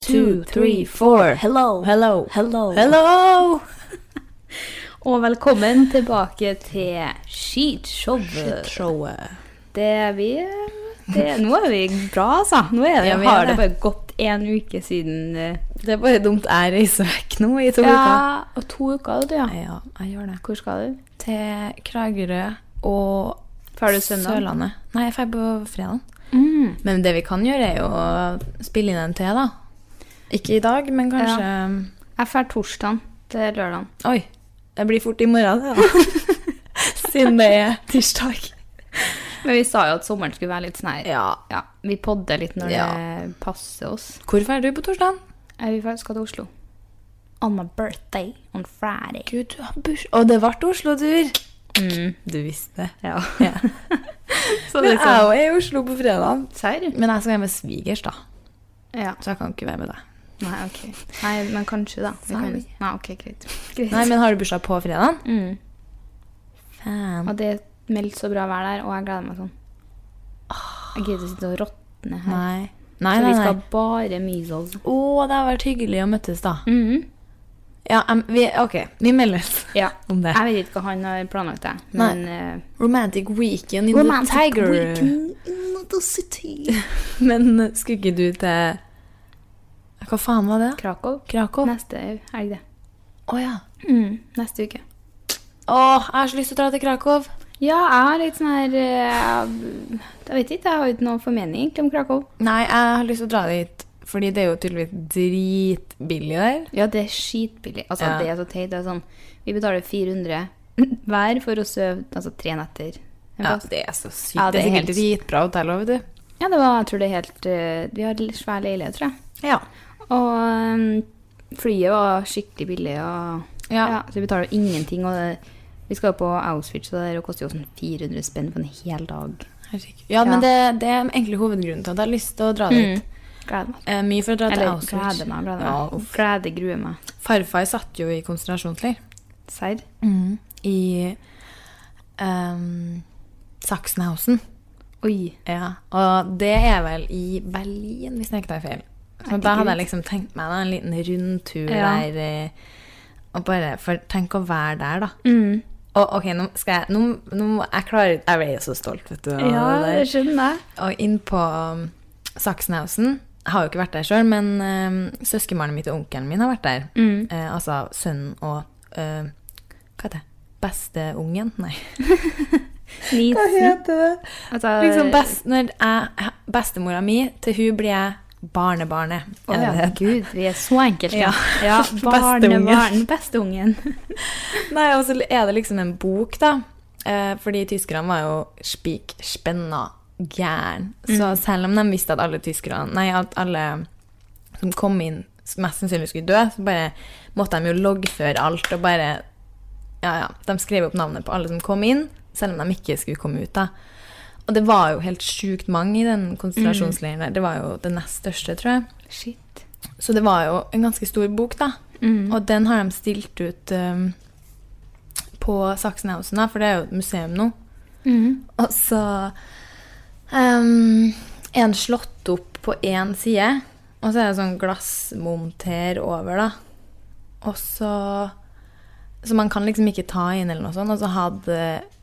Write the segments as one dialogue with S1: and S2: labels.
S1: two, three, four.
S2: Hello.
S1: Hello.
S2: Hello.
S1: Hello!
S2: Og velkommen tilbake til skitshowet.
S1: Showet.
S2: Det er vi det, Nå er vi bra, altså. Nå er det,
S1: Ja, vi er
S2: har
S1: det.
S2: det bare gått én uke siden eh,
S1: Det er bare dumt jeg reiser vekk nå i to uker.
S2: Ja, og to uker, du, ja.
S1: Ja, jeg gjør det.
S2: Hvor skal du?
S1: Til Kragerø og
S2: Drar du søndag?
S1: Sørlandet. Nei, jeg drar på fredag. Men det vi kan gjøre, er jo å spille inn en til, da. Ikke i dag, men kanskje
S2: Jeg drar torsdag til lørdag.
S1: Oi, det blir fort i morgen, det, da. Siden det er tirsdag.
S2: Men vi sa jo at sommeren skulle være litt sånn her.
S1: Ja.
S2: vi podder litt når
S1: Ja.
S2: det passer oss.
S1: Hvor drar du på torsdag?
S2: Jeg vil faktisk skal til Oslo. On my birthday on Friday. Mm.
S1: Gud, du har burs... Og det ble Oslo-tur! Du visste det.
S2: Ja.
S1: Ja.
S2: Så
S1: Men
S2: det
S1: jeg
S2: er sånn.
S1: er jo i Oslo på fredag.
S2: Serr?
S1: Men jeg skal være med svigers, da.
S2: Ja.
S1: Så jeg kan ikke være med deg.
S2: Nei, ok. Nei, men kanskje, da. Vi kan...
S1: Sorry.
S2: Nei, ok, greit. greit.
S1: Nei, men har du bursdag på fredag?
S2: Mm.
S1: Fan.
S2: Og det er meldt så bra vær der, og jeg gleder meg sånn. Jeg gidder ikke sitte og råtne her.
S1: Nei.
S2: Så
S1: Nei, nei,
S2: vi
S1: nei.
S2: skal bare measles.
S1: Å, det har vært hyggelig å møttes, da.
S2: Mm-hmm.
S1: Ja, em, vi, ok, vi meldes
S2: Ja.
S1: om det.
S2: Jeg vet ikke hva han har planlagt, jeg.
S1: Nei.
S2: Men eh,
S1: Romantic weekend in
S2: Romantic
S1: the tiger.
S2: weekend
S1: in the city. men eh, skulle ikke du til Hva faen var det?
S2: Krakow
S1: Krakow? Å
S2: neste helg, det.
S1: ja.
S2: Mm, neste uke.
S1: Åh, jeg har så lyst til å dra til Krakow.
S2: Ja, jeg har litt sånn her eh, Jeg vet ikke, jeg har ikke noen formening egentlig om Krakow.
S1: Nei, jeg har lyst til å dra dit, fordi det er jo tydeligvis dritbillig der.
S2: Ja, det er skitbillig. Altså,
S1: Ja.
S2: det er så teit. Det er sånn Vi betaler 400 hver for å sove altså, tre netter. en plass.
S1: det er så sykt.
S2: Ja,
S1: det,
S2: det
S1: er
S2: er
S1: sikkert dritbra hotell òg, vet du.
S2: Ja, det var, jeg tror det er helt eh, Vi har litt svær leilighet, tror jeg.
S1: Ja.
S2: Og eh, flyet var skikkelig billig, og
S1: Ja.
S2: ja, så vi betaler jo ingenting. Og det, vi skal jo på Auschwitz, og det der koster jo sånn 400 spenn for en hel dag.
S1: Herregud. Ja, men
S2: Ja.
S1: det, det er egentlig hovedgrunnen til at jeg har lyst til å dra dit.
S2: Mm. Gleder meg.
S1: Eh, mye for å dra til
S2: Eller
S1: Auschwitz.
S2: gleder meg, gleder meg.
S1: Ja, uff.
S2: gleder, gruer meg.
S1: Farfar satt jo i konsentrasjonsleir.
S2: Serr? Mm.
S1: I ehm, Sachsenhausen.
S2: Oi.
S1: Ja. Og det er vel i Berlin, hvis jeg ikke tar feil. Så da hadde jeg liksom tenkt meg da, en liten rundtur
S2: Ja.
S1: der. eh, Og bare, for tenk å være der, da.
S2: Mm.
S1: Og ok, nå skal jeg Nå, nå jeg klarer Jeg ble jo så stolt, vet du. av
S2: Ja,
S1: det der.
S2: det skjønner jeg.
S1: Og inn på um, Saksenhausen Jeg har jo ikke vært der sjøl, men um, søskenbarnet mitt og onkelen min har vært der. Eh, altså sønnen og eh, Hva heter det? Besteungen? Nei.
S2: Nisen.
S1: det?
S2: Altså,
S1: Liksom best, når jeg, bestemora mi, til hun blir jeg barnebarnet.
S2: Å
S1: Er det
S2: ja,
S1: det?
S2: gud, vi er så enkelte.
S1: Ja.
S2: ja
S1: Besteungen.
S2: barnebarn, besteungen.
S1: Nei, og så er det liksom en bok, da. Eh, fordi tyskerne var jo spik spenna gæren. Så selv om de visste at alle tyskerne Nei, at alle som kom inn, mest sannsynlig skulle dø, så bare måtte de jo loggføre alt og bare Ja, ja. De skrev opp navnet på alle som kom inn, selv om de ikke skulle komme ut, da. Og det var jo helt sjukt mange i den konsentrasjonsleiren der. Det var jo det nest største, tror jeg.
S2: Shit.
S1: Så det var jo en ganske stor bok, da. Og den har de stilt ut um, på Sachsenhausen, da, for det er jo et museum nå.
S2: Mm.
S1: Og så um, er den slått opp på én side, og så er det sånn glassmonter over, da. Og så Så man kan liksom ikke ta inn eller noe sånt. Og så hadde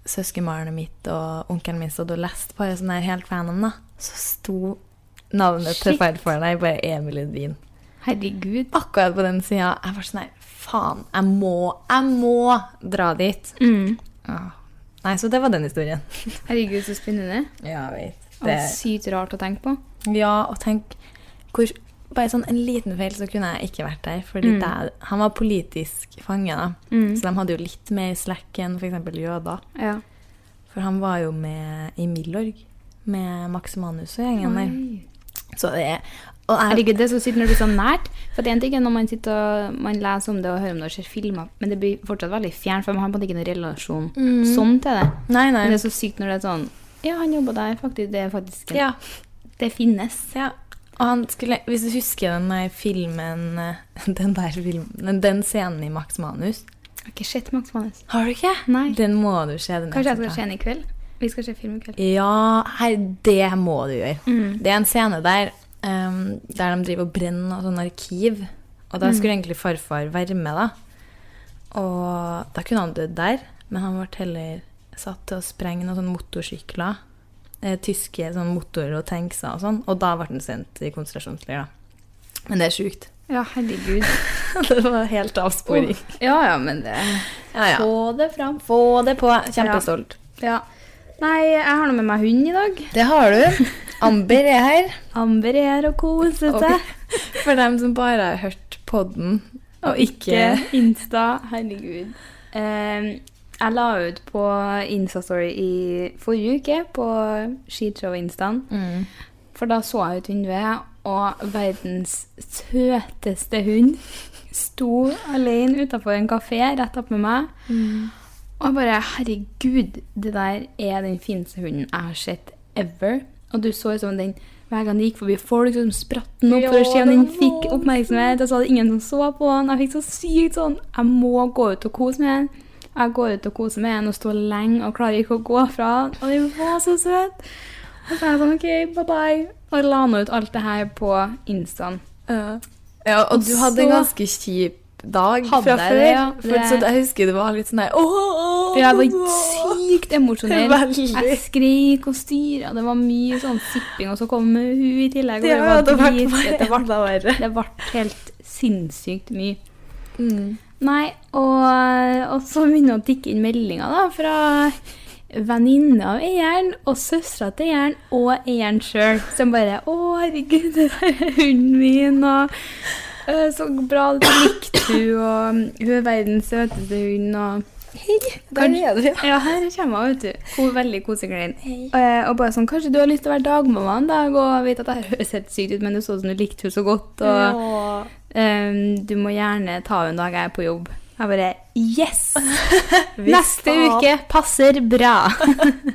S1: søskenbarnet mitt og onkelen min stått og lest bare sånn her helt random, da. Så sto navnet til
S2: Shit.
S1: feil foran deg, bare Emil Lundin
S2: Herregud.
S1: akkurat på den sida. Jeg var sånn her Faen, jeg må, jeg må dra dit.
S2: Mm.
S1: Åh. Nei, så det var den historien.
S2: Herregud, så spennende.
S1: Ja, jeg vet.
S2: Det er sykt rart å tenke på.
S1: Ja, og tenk hvor Bare sånn en liten feil, så kunne jeg ikke vært der. Fordi
S2: Mm.
S1: der, han var politisk fange, da. Så de hadde jo litt mer slack enn f.eks. jøder.
S2: Ja.
S1: For han var jo med i Milorg. Med Max Manus og gjengen der. Så det er og jeg-
S2: Herregud, det er så sykt når du er så nært. For det er en ting er når man sitter og man leser om det og hører om det og ser filmer, men det blir fortsatt veldig fjernt, for man har på en måte ikke noen relasjon sånn til det.
S1: Nei, nei.
S2: Men det er så sykt når det er sånn Ja, han jobba der, faktisk. Det er faktisk
S1: ja.
S2: Det finnes.
S1: Ja, og han skulle, hvis du husker den der filmen, eh, den der filmen, den scenen i Max Manus.
S2: Jeg har ikke sett Max Manus.
S1: Har du ikke?
S2: Nei.
S1: Den må du se. Den er
S2: Kanskje jeg
S1: så
S2: skal
S1: bra.
S2: se den i kveld? Vi skal se film i kveld.
S1: Ja, hei, det må du gjøre. Det er en scene der, em, der de driver og brenner og sånn arkiv. Og da skulle egentlig farfar være med, da. Og da kunne han dødd der, men han ble heller satt til å sprenge noen sånne motorsykler. Eh, tyske sånn motorer og tankser og sånn. Og da ble han sendt i konsentrasjonsleir, da. Men det er sjukt.
S2: Ja, herregud.
S1: det var helt avsporing.
S2: Ja, ja, men det
S1: Ja, ja.
S2: Få det fram.
S1: Få det på. Kjempestolt.
S2: Ja. Nei, jeg har nå med meg hund i dag.
S1: Det har du. Amber er her.
S2: Amber er her og koser seg.
S1: For dem som bare har hørt podden og ikke
S2: Ikke Insta. Herregud. Eh, jeg la ut på Insta-story i forrige uke på skishow-instaen. For da så jeg ut vinduet, og verdens søteste hund sto alene utafor en kafé rett opp med meg. Og jeg bare Herregud, det der er den fineste hunden jeg har sett ever. Og du så jo sånn den hver gang det gikk forbi folk, så spratt den opp for å se om den fikk oppmerksomhet. Og så var det ingen som så på den. Jeg fikk så sykt sånn Jeg må gå ut og kose med den. Jeg går ut og koser med den og står lenge og klarer ikke å gå fra den. Og den var så søt. Og så er jeg sånn OK, bye bye. Og la nå ut alt det her på Instaen.
S1: Ja, og du hadde en
S2: Så-
S1: ganske kjip dag
S2: Hadde
S1: fra
S2: jeg
S1: før.
S2: det, ja.
S1: For
S2: Det-
S1: så jeg husker det var litt sånn der åh, åh,
S2: Jeg var
S1: åh.
S2: sykt emosjonell.
S1: Veldig.
S2: Jeg skrek og styra. Det var mye sånn sipping, og så kom hun i tillegg. Og
S1: Ja, ja,
S2: det
S1: det
S2: var
S1: ble
S2: drit-
S1: bare
S2: det ble-
S1: enda verre.
S2: det ble helt sinnssykt mye. Mm. Nei, og, og så begynner det å tikke inn meldinger da, fra venninne av eieren og søstera til eieren og eieren sjøl, som bare 'Å, herregud, det der er hunden min', og «Øh, 'Så bra, det likte du', og 'Hun er verdens søteste hund', og
S1: Der er du, ja.
S2: ja, her kommer hun, vet du. Hun er veldig koseklein. Eh, og bare sånn, kanskje du har lyst til å være dagmamma en dag, og jeg vet at det her høres helt sykt ut, men det så ut som du likte henne så godt, og ehm, du må gjerne ta henne en dag jeg er på jobb. Jeg bare, yes! Neste
S1: faen.
S2: uke passer bra.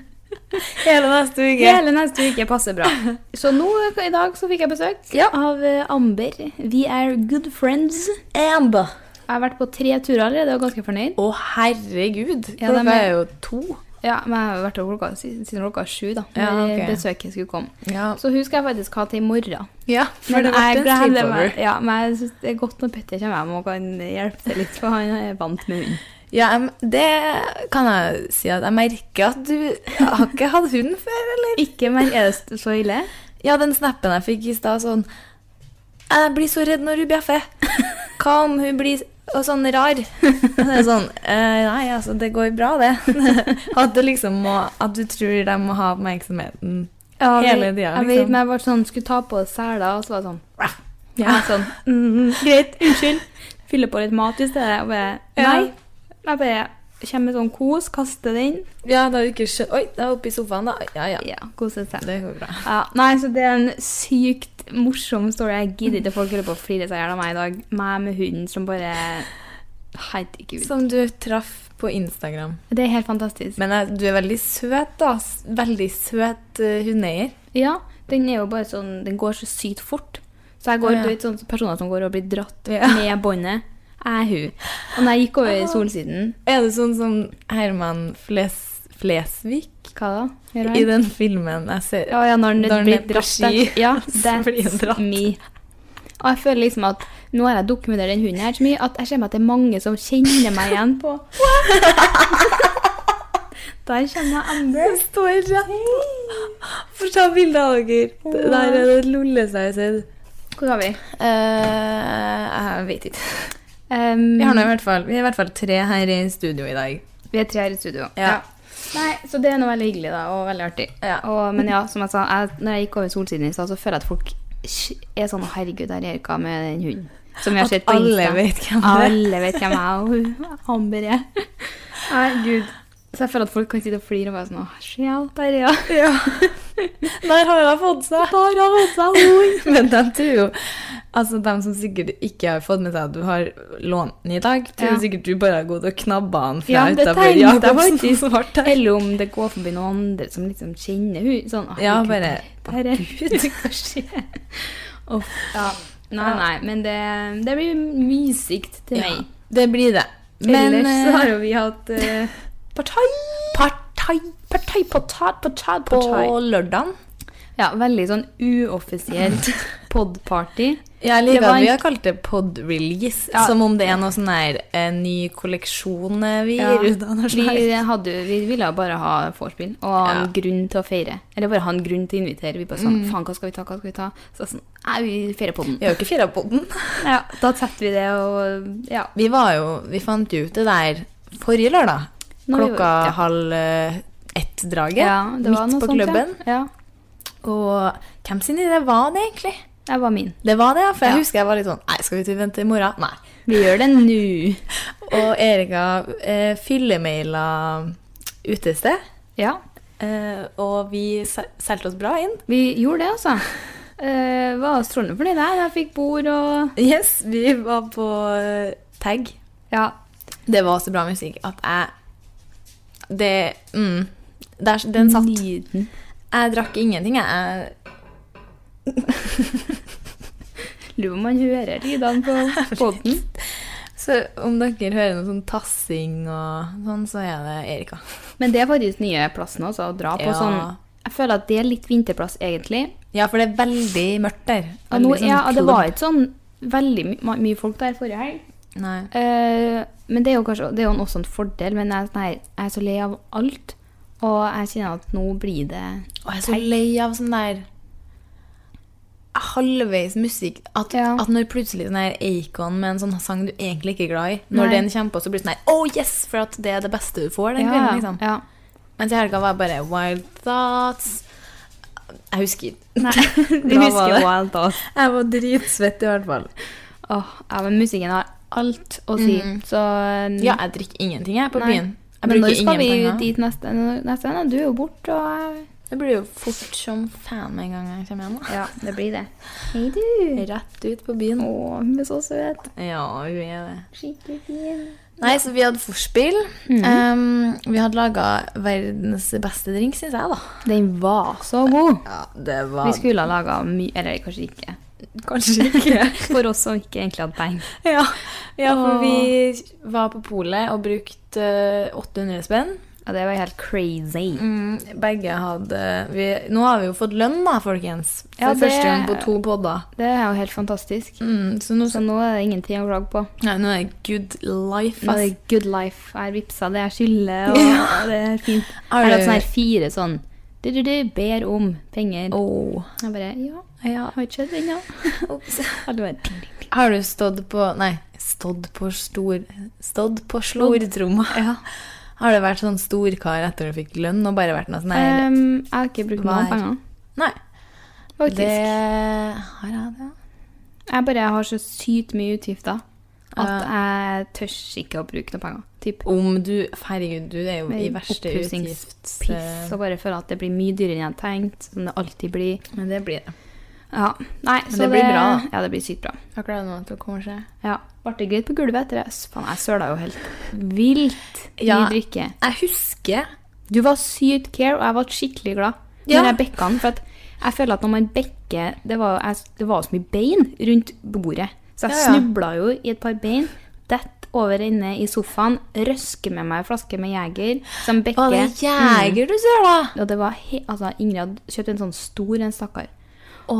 S1: Hele neste uke.
S2: Hele neste uke passer bra. Så nå, i dag, så fikk jeg besøk
S1: Ja.
S2: av eh, Amber. Vi er good friends.
S1: Amber.
S2: Jeg har vært på tre turer allerede, og er ganske fornøyd.
S1: Å, herregud.
S2: Ja, dem
S1: Klokka
S2: er-
S1: er jo to.
S2: Ja, men jeg har vært der klokka, siden klokka sju da,
S1: Ja,
S2: når
S1: ok.
S2: besøket skulle komme.
S1: Ja,
S2: Så hun skal jeg faktisk ha til i morgen.
S1: for det ble
S2: jeg
S1: en
S2: gleder
S1: sleepover.
S2: meg- Ja, men jeg synes det er godt når Petter kommer hjem og kan hjelpe til litt, for han er vant med hund.
S1: Ja, em, det kan jeg si at jeg merker at du har ikke hatt hund før, eller?
S2: Ikke mer er det så ille.
S1: Ja, den snappen jeg fikk i stad, sånn Jeg blir så redd når hun bjeffer. Hva om hun blir og sånn rar? Og Det er sånn eh, Nei, altså, det går bra, det. At, det liksom må, at du tror de må ha oppmerksomheten.
S2: Ja, jeg
S1: Hele
S2: vet-
S1: tiden,
S2: Jeg vet,
S1: liksom.
S2: men jeg var sånn, skulle ta på seler, og så var det sånn,
S1: Ja.
S2: jeg sånn mm, greit, unnskyld, fylle på litt mat i stedet, og bare, nei. Jeg bare kommer med sånn kos, kaster den,
S1: ja, da er du ikke skjønn... Oi, det er oppe i sofaen, da. Ja, ja.
S2: ja, koset seg.
S1: Det går bra.
S2: Ja, nei, så det er en sykt morsom story. Jeg gidder ikke folk holder på å flire seg i hjel av meg i dag. Meg med hunden som bare Herregud.
S1: Som du traff på Instagram.
S2: Det er helt fantastisk.
S1: Men jeg, du er veldig søt, da. S- Veldig søt eh, hundeeier.
S2: Ja, den er jo bare sånn Den går så sykt fort. Så jeg går,
S1: Ja.
S2: du vet, sånn personer som går og blir dratt
S1: Ja.
S2: med båndet. Jeg er hun. Og når jeg gikk over i Solsiden
S1: Er det sånn som Herman Fles, Flesvig
S2: Hva da? Gjør
S1: i
S2: han?
S1: den filmen jeg ser?
S2: Ja, ja, når
S1: Når
S2: den
S1: han
S2: blir
S1: er på
S2: dratt.
S1: ski,
S2: der. Ja,
S1: så blir han
S2: that's
S1: dratt.
S2: me. Og jeg føler liksom at nå har jeg dokumentert den hunden her så mye at jeg ser meg at det er mange som kjenner meg igjen på Der kommer jeg Amber.
S1: Jeg står rett opp. Få ta bilde av dere. Det Der er det lollesausen.
S2: Hvor var vi?
S1: Eh, jeg vet ikke.
S2: Um,
S1: Vi, har nå i hvert fall, vi er i hvert fall tre her i studio i dag.
S2: Vi er tre her i studio.
S1: Ja.
S2: Nei, Så det er noe veldig hyggelig da, og veldig artig.
S1: Ja.
S2: Og, men ja, som jeg sa, jeg, når jeg gikk over Solsiden i stad, så føler jeg at folk sk- er sånn «Å, 'Herregud, der er Erika med den hunden'. Som vi har
S1: At
S2: sett på
S1: alle
S2: Insta.
S1: vet hvem det er.
S2: Alle vet hvem jeg og hun- Amber er. Nei, Gud. Så jeg føler at folk kan sitte og flire og bare sånn 'Å, se alt der, ja'.
S1: Der har hun fått seg! Der har hun fått seg Men de tror jo Altså, de som sikkert ikke har fått med seg at du har lånt den i dag, tror
S2: Ja.
S1: sikkert du bare har gått og knabba den fra
S2: Ja, det
S1: utenfor
S2: tenkte jeg
S1: Jacobsen som var der.
S2: sånn Eller om det går forbi noen andre som liksom kjenner hun sånn «Å,
S1: Ja,
S2: Gud,
S1: bare,
S2: Der der er hun, hva skjer? Uff, ja. Nei, nei, men det, det blir mysikt til
S1: Ja,
S2: meg.
S1: det blir det. Men
S2: Ellers så har
S1: eh,
S2: jo vi hatt eh,
S1: partai Partai, partai, partai, partai På lørdagen.
S2: ja, veldig sånn uoffisielt podparty.
S1: Jeg
S2: Det
S1: liker
S2: var
S1: at vi
S2: en-
S1: har kalt det pod-release,
S2: Ja.
S1: som om det er noe sånn her eh, ny kolleksjon eh, vi
S2: Ja,
S1: gir ut. av noe
S2: vi,
S1: slag.
S2: hadde, jo- vi ville bare ha vorspiel og ha en
S1: Ja.
S2: grunn til å feire. Eller bare ha en grunn til å invitere. Vi bare sånn Faen, hva skal vi ta? Hva skal vi ta? Så sånn Nei, vi feirer podden.
S1: Vi har jo ikke fira podden.
S2: Ja, da setter vi det og Ja.
S1: Vi var jo Vi fant jo ut det der forrige lørdag.
S2: Når vi-
S1: klokka
S2: ja.
S1: halv eh, ett-draget.
S2: ja det var
S1: midt
S2: noe
S1: på
S2: sånt, ja.
S1: klubben.
S2: Ja.
S1: Og hvem sin idé var det egentlig?
S2: Det var min.
S1: Det var det, ja. For jeg
S2: Ja.
S1: husker jeg var litt sånn Nei, skal vi til vente i morgen? Nei.
S2: Vi gjør det nå.
S1: Og Erika eh, fyllemaila utested.
S2: Ja,
S1: Eh, og vi se- solgte oss bra inn.
S2: vi gjorde det, altså. Uh, var strålende fornøyd der. Jeg fikk bord og
S1: Yes, vi var på eh, tag.
S2: Ja.
S1: Det var så bra musikk at jeg Det mm, der, Den satt.
S2: Lyden.
S1: Jeg drakk ingenting, jeg.
S2: Lurer på om man hører lydene på podden.
S1: Så om dere hører noe sånn tassing og sånn, så er det Erika.
S2: Men det er faktisk nye plassen også, å dra på
S1: Ja.
S2: sånn Jeg føler at det er litt vinterplass, egentlig.
S1: Ja, for det er veldig mørkt der.
S2: Og nå,
S1: Veldig sånn
S2: ja, og det
S1: klubb.
S2: var ikke sånn veldig my ma- mye folk der forrige helg.
S1: Nei.
S2: Eh, men det er jo kanskje Det er jo også en fordel, men jeg, er sånn her, jeg er så lei av alt. Og jeg kjenner at nå blir det
S1: Og jeg er så lei av sånn der halvveis musikk. At,
S2: Ja.
S1: at når plutselig sånn her Acon med en sånn sang du egentlig ikke er glad i, når
S2: Nei.
S1: den kommer på, så blir det sånn her Oh yes! For at det er det beste du får den kvelden. liksom.
S2: ja.
S1: Mens i helga var jeg bare Wild Thoughts. Jeg husker ikke.
S2: Nei, du
S1: Bra var
S2: husker
S1: det.
S2: Wild Thoughts.
S1: Jeg var dritsvett i hvert fall.
S2: Åh, ja, men musikken har alt å si. Så um,
S1: Mm. Ja, jeg drikker ingenting jeg på
S2: Nei.
S1: byen. Jeg
S2: Men når
S1: bruker
S2: skal
S1: ingen
S2: vi
S1: penger.
S2: dit neste, neste gang? da? Du er jo borte, og jeg-
S1: Det blir jo fort som fan med en gang jeg kommer hjem. da.
S2: Ja, det blir det. Hei, du.
S1: Rett ut på byen.
S2: Å, hun er så søt.
S1: Ja, hun er det.
S2: Skikkelig fin.
S1: Nei, så vi hadde vorspiel.
S2: Mhm.
S1: um, vi hadde laga verdens beste drink, syns jeg, da.
S2: Den var så god.
S1: Ja, det
S2: Vi
S1: var
S2: skulle ha laga mye Eller kanskje ikke.
S1: kanskje ikke
S2: For oss som ikke egentlig hadde penger.
S1: ja. ja, for
S2: Åh.
S1: vi var på polet og brukte eh, 800 spenn.
S2: Ja, det var helt crazy.
S1: Mm, begge hadde vi, Nå har vi jo fått lønn, da, folkens. For
S2: Ja, det-
S1: første gang på to podder.
S2: Det er jo helt fantastisk.
S1: Mm, så nå,
S2: Så nå er det ingenting å klage på.
S1: nei, nå er det good life.
S2: Nå er
S1: ass.
S2: det good life. Jeg har vippsa det jeg skylder, og det er fint. Jeg
S1: Har
S2: har hatt
S1: du-
S2: sånn her fire sånn du, du, du, ber om penger.
S1: Åh.
S2: Jeg bare Ja,
S1: Ja.
S2: har ikke skjedd ennå.
S1: Ops.
S2: Alle bare, «Ding, ding, ding».
S1: Har du stått på Nei, stått på stor Stått på slortromma. Har du vært sånn storkar etter du fikk lønn og bare vært noe sånn her
S2: Ehm, jeg har ikke brukt noen
S1: Hver.
S2: penger,
S1: Nei.
S2: faktisk.
S1: Det har jeg, det.
S2: Jeg bare har så sykt mye utgifter at jeg tør ikke å bruke noen penger. Typ
S1: Om du Herregud, du er jo i
S2: Med
S1: verste
S2: oppussingspiss
S1: utgifts...
S2: og bare føler at det blir mye dyrere enn jeg har tenkt, som det alltid blir.
S1: Men det blir det.
S2: Ja. Nei,
S1: Men det blir bra, da.
S2: Ja, det blir sykt bra.
S1: Jeg gleder meg til å komme og se.
S2: Ja. Ble det greit på gulvet etter det? Ass, Faen, jeg søla jo helt vilt i
S1: Ja.
S2: drikke.
S1: Jeg husker
S2: Du var sykt care, og jeg var skikkelig glad
S1: Ja.
S2: når jeg bekka den. For at jeg føler at når man bekker Det var, jeg, det var så mye bein rundt bordet. Så jeg
S1: Ja, ja.
S2: snubla jo i et par bein. Dett over inne i sofaen. Røsker med meg en flaske med Jeger. Som bekker.
S1: Å, det er jeger du ser, da!
S2: Og det var he altså, Ingrid hadde kjøpt en sånn stor en, stakkar.
S1: Å,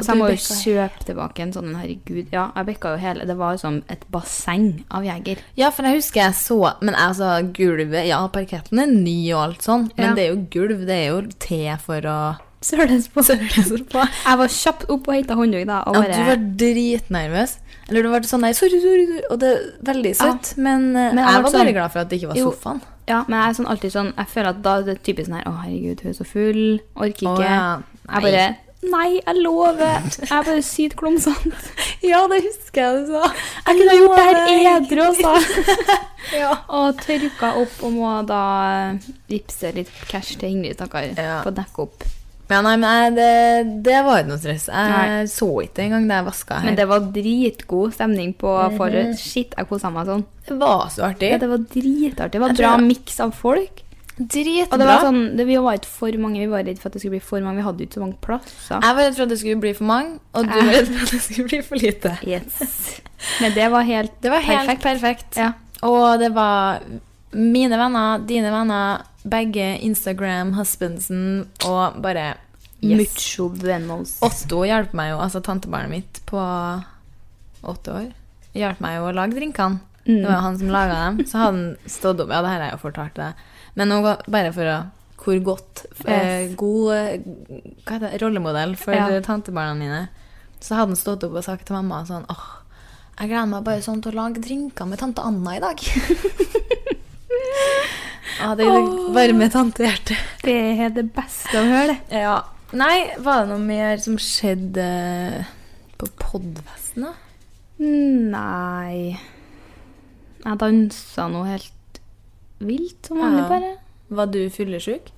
S2: Så jeg må
S1: du
S2: jo
S1: bekka.
S2: kjøpe tilbake en sånn en. Herregud. Ja, jeg bekka jo hele Det var jo som et basseng av Jeger.
S1: Ja, for jeg husker jeg så Men altså, gulvet Ja, parketten er ny og alt sånn, men
S2: Ja.
S1: det er jo gulv. Det er jo te for å
S2: Søles på.
S1: på.
S2: Jeg var kjapt opp og henta håndduk da. Og
S1: Ja,
S2: bare,
S1: du var dritnervøs. Eller du var sånn nei, sorry, sorry, sorry. Og det er veldig søtt, men, eh,
S2: Men jeg
S1: jeg,
S2: ble
S1: var
S2: sånn-
S1: bare glad for at det ikke var
S2: Jo.
S1: sofaen.
S2: Ja, men jeg er sånn alltid sånn Jeg føler at da er det typisk sånn her Å, herregud, hun er så full. Orker ikke.
S1: Å, ja.
S2: Jeg bare Nei, jeg lover. Jeg er bare sykt klumsete.
S1: Ja, det husker jeg du sa.
S2: Jeg kunne ha gjort det her edru også.
S1: Ja.
S2: Og tørka opp og må da vippse litt cash til Ingrid, stakkar.
S1: Ja.
S2: På å dekke opp.
S1: Ja, nei, men jeg, det, det var ikke noe stress. Jeg
S2: Nei.
S1: så ikke det engang da jeg vaska her.
S2: Men det var dritgod stemning på
S1: Mhm.
S2: forhøret. Shit, jeg kosa meg sånn.
S1: Det var så artig.
S2: Ja, det var dritartig. Det var
S1: Jeg
S2: bra
S1: tror jeg-
S2: miks av folk.
S1: Dritbra.
S2: Og det var sånn, det, vi var ikke for mange. Vi var redd for at det skulle bli for mange. Vi hadde jo ikke så mange plasser.
S1: Jeg var redd for at det skulle bli for mange, og du
S2: Jeg-
S1: var redd for at det skulle bli for lite.
S2: Yes. Men det var helt
S1: Det var helt perfekt.
S2: Ja.
S1: Og det var mine venner, dine venner, begge Instagram, husbandsen og bare yes.
S2: Mucho buenos.
S1: Otto hjelper meg jo, altså tantebarnet mitt på åtte år, hjelper meg jo å lage drinkene. Det
S2: Mm.
S1: var jo han som laga dem. Så hadde han stått opp Ja, det her har jeg jo fortalt deg. Men nå ga- bare for å Hvor godt eh,
S2: Yes.
S1: God eh, hva heter det, rollemodell for
S2: Ja.
S1: tantebarna mine. Så hadde han stått opp og sagt til mamma sånn Åh, jeg gleder meg bare sånn til å lage drinker med tante Anna i dag. ja, det varme tantehjertet.
S2: Det er det beste å høre, det.
S1: Ja. Nei, var det noe mer som skjedde på podfesten, da?
S2: Nei Jeg dansa noe helt vilt, som vanlig,
S1: Ja.
S2: bare.
S1: Var du fyllesyk?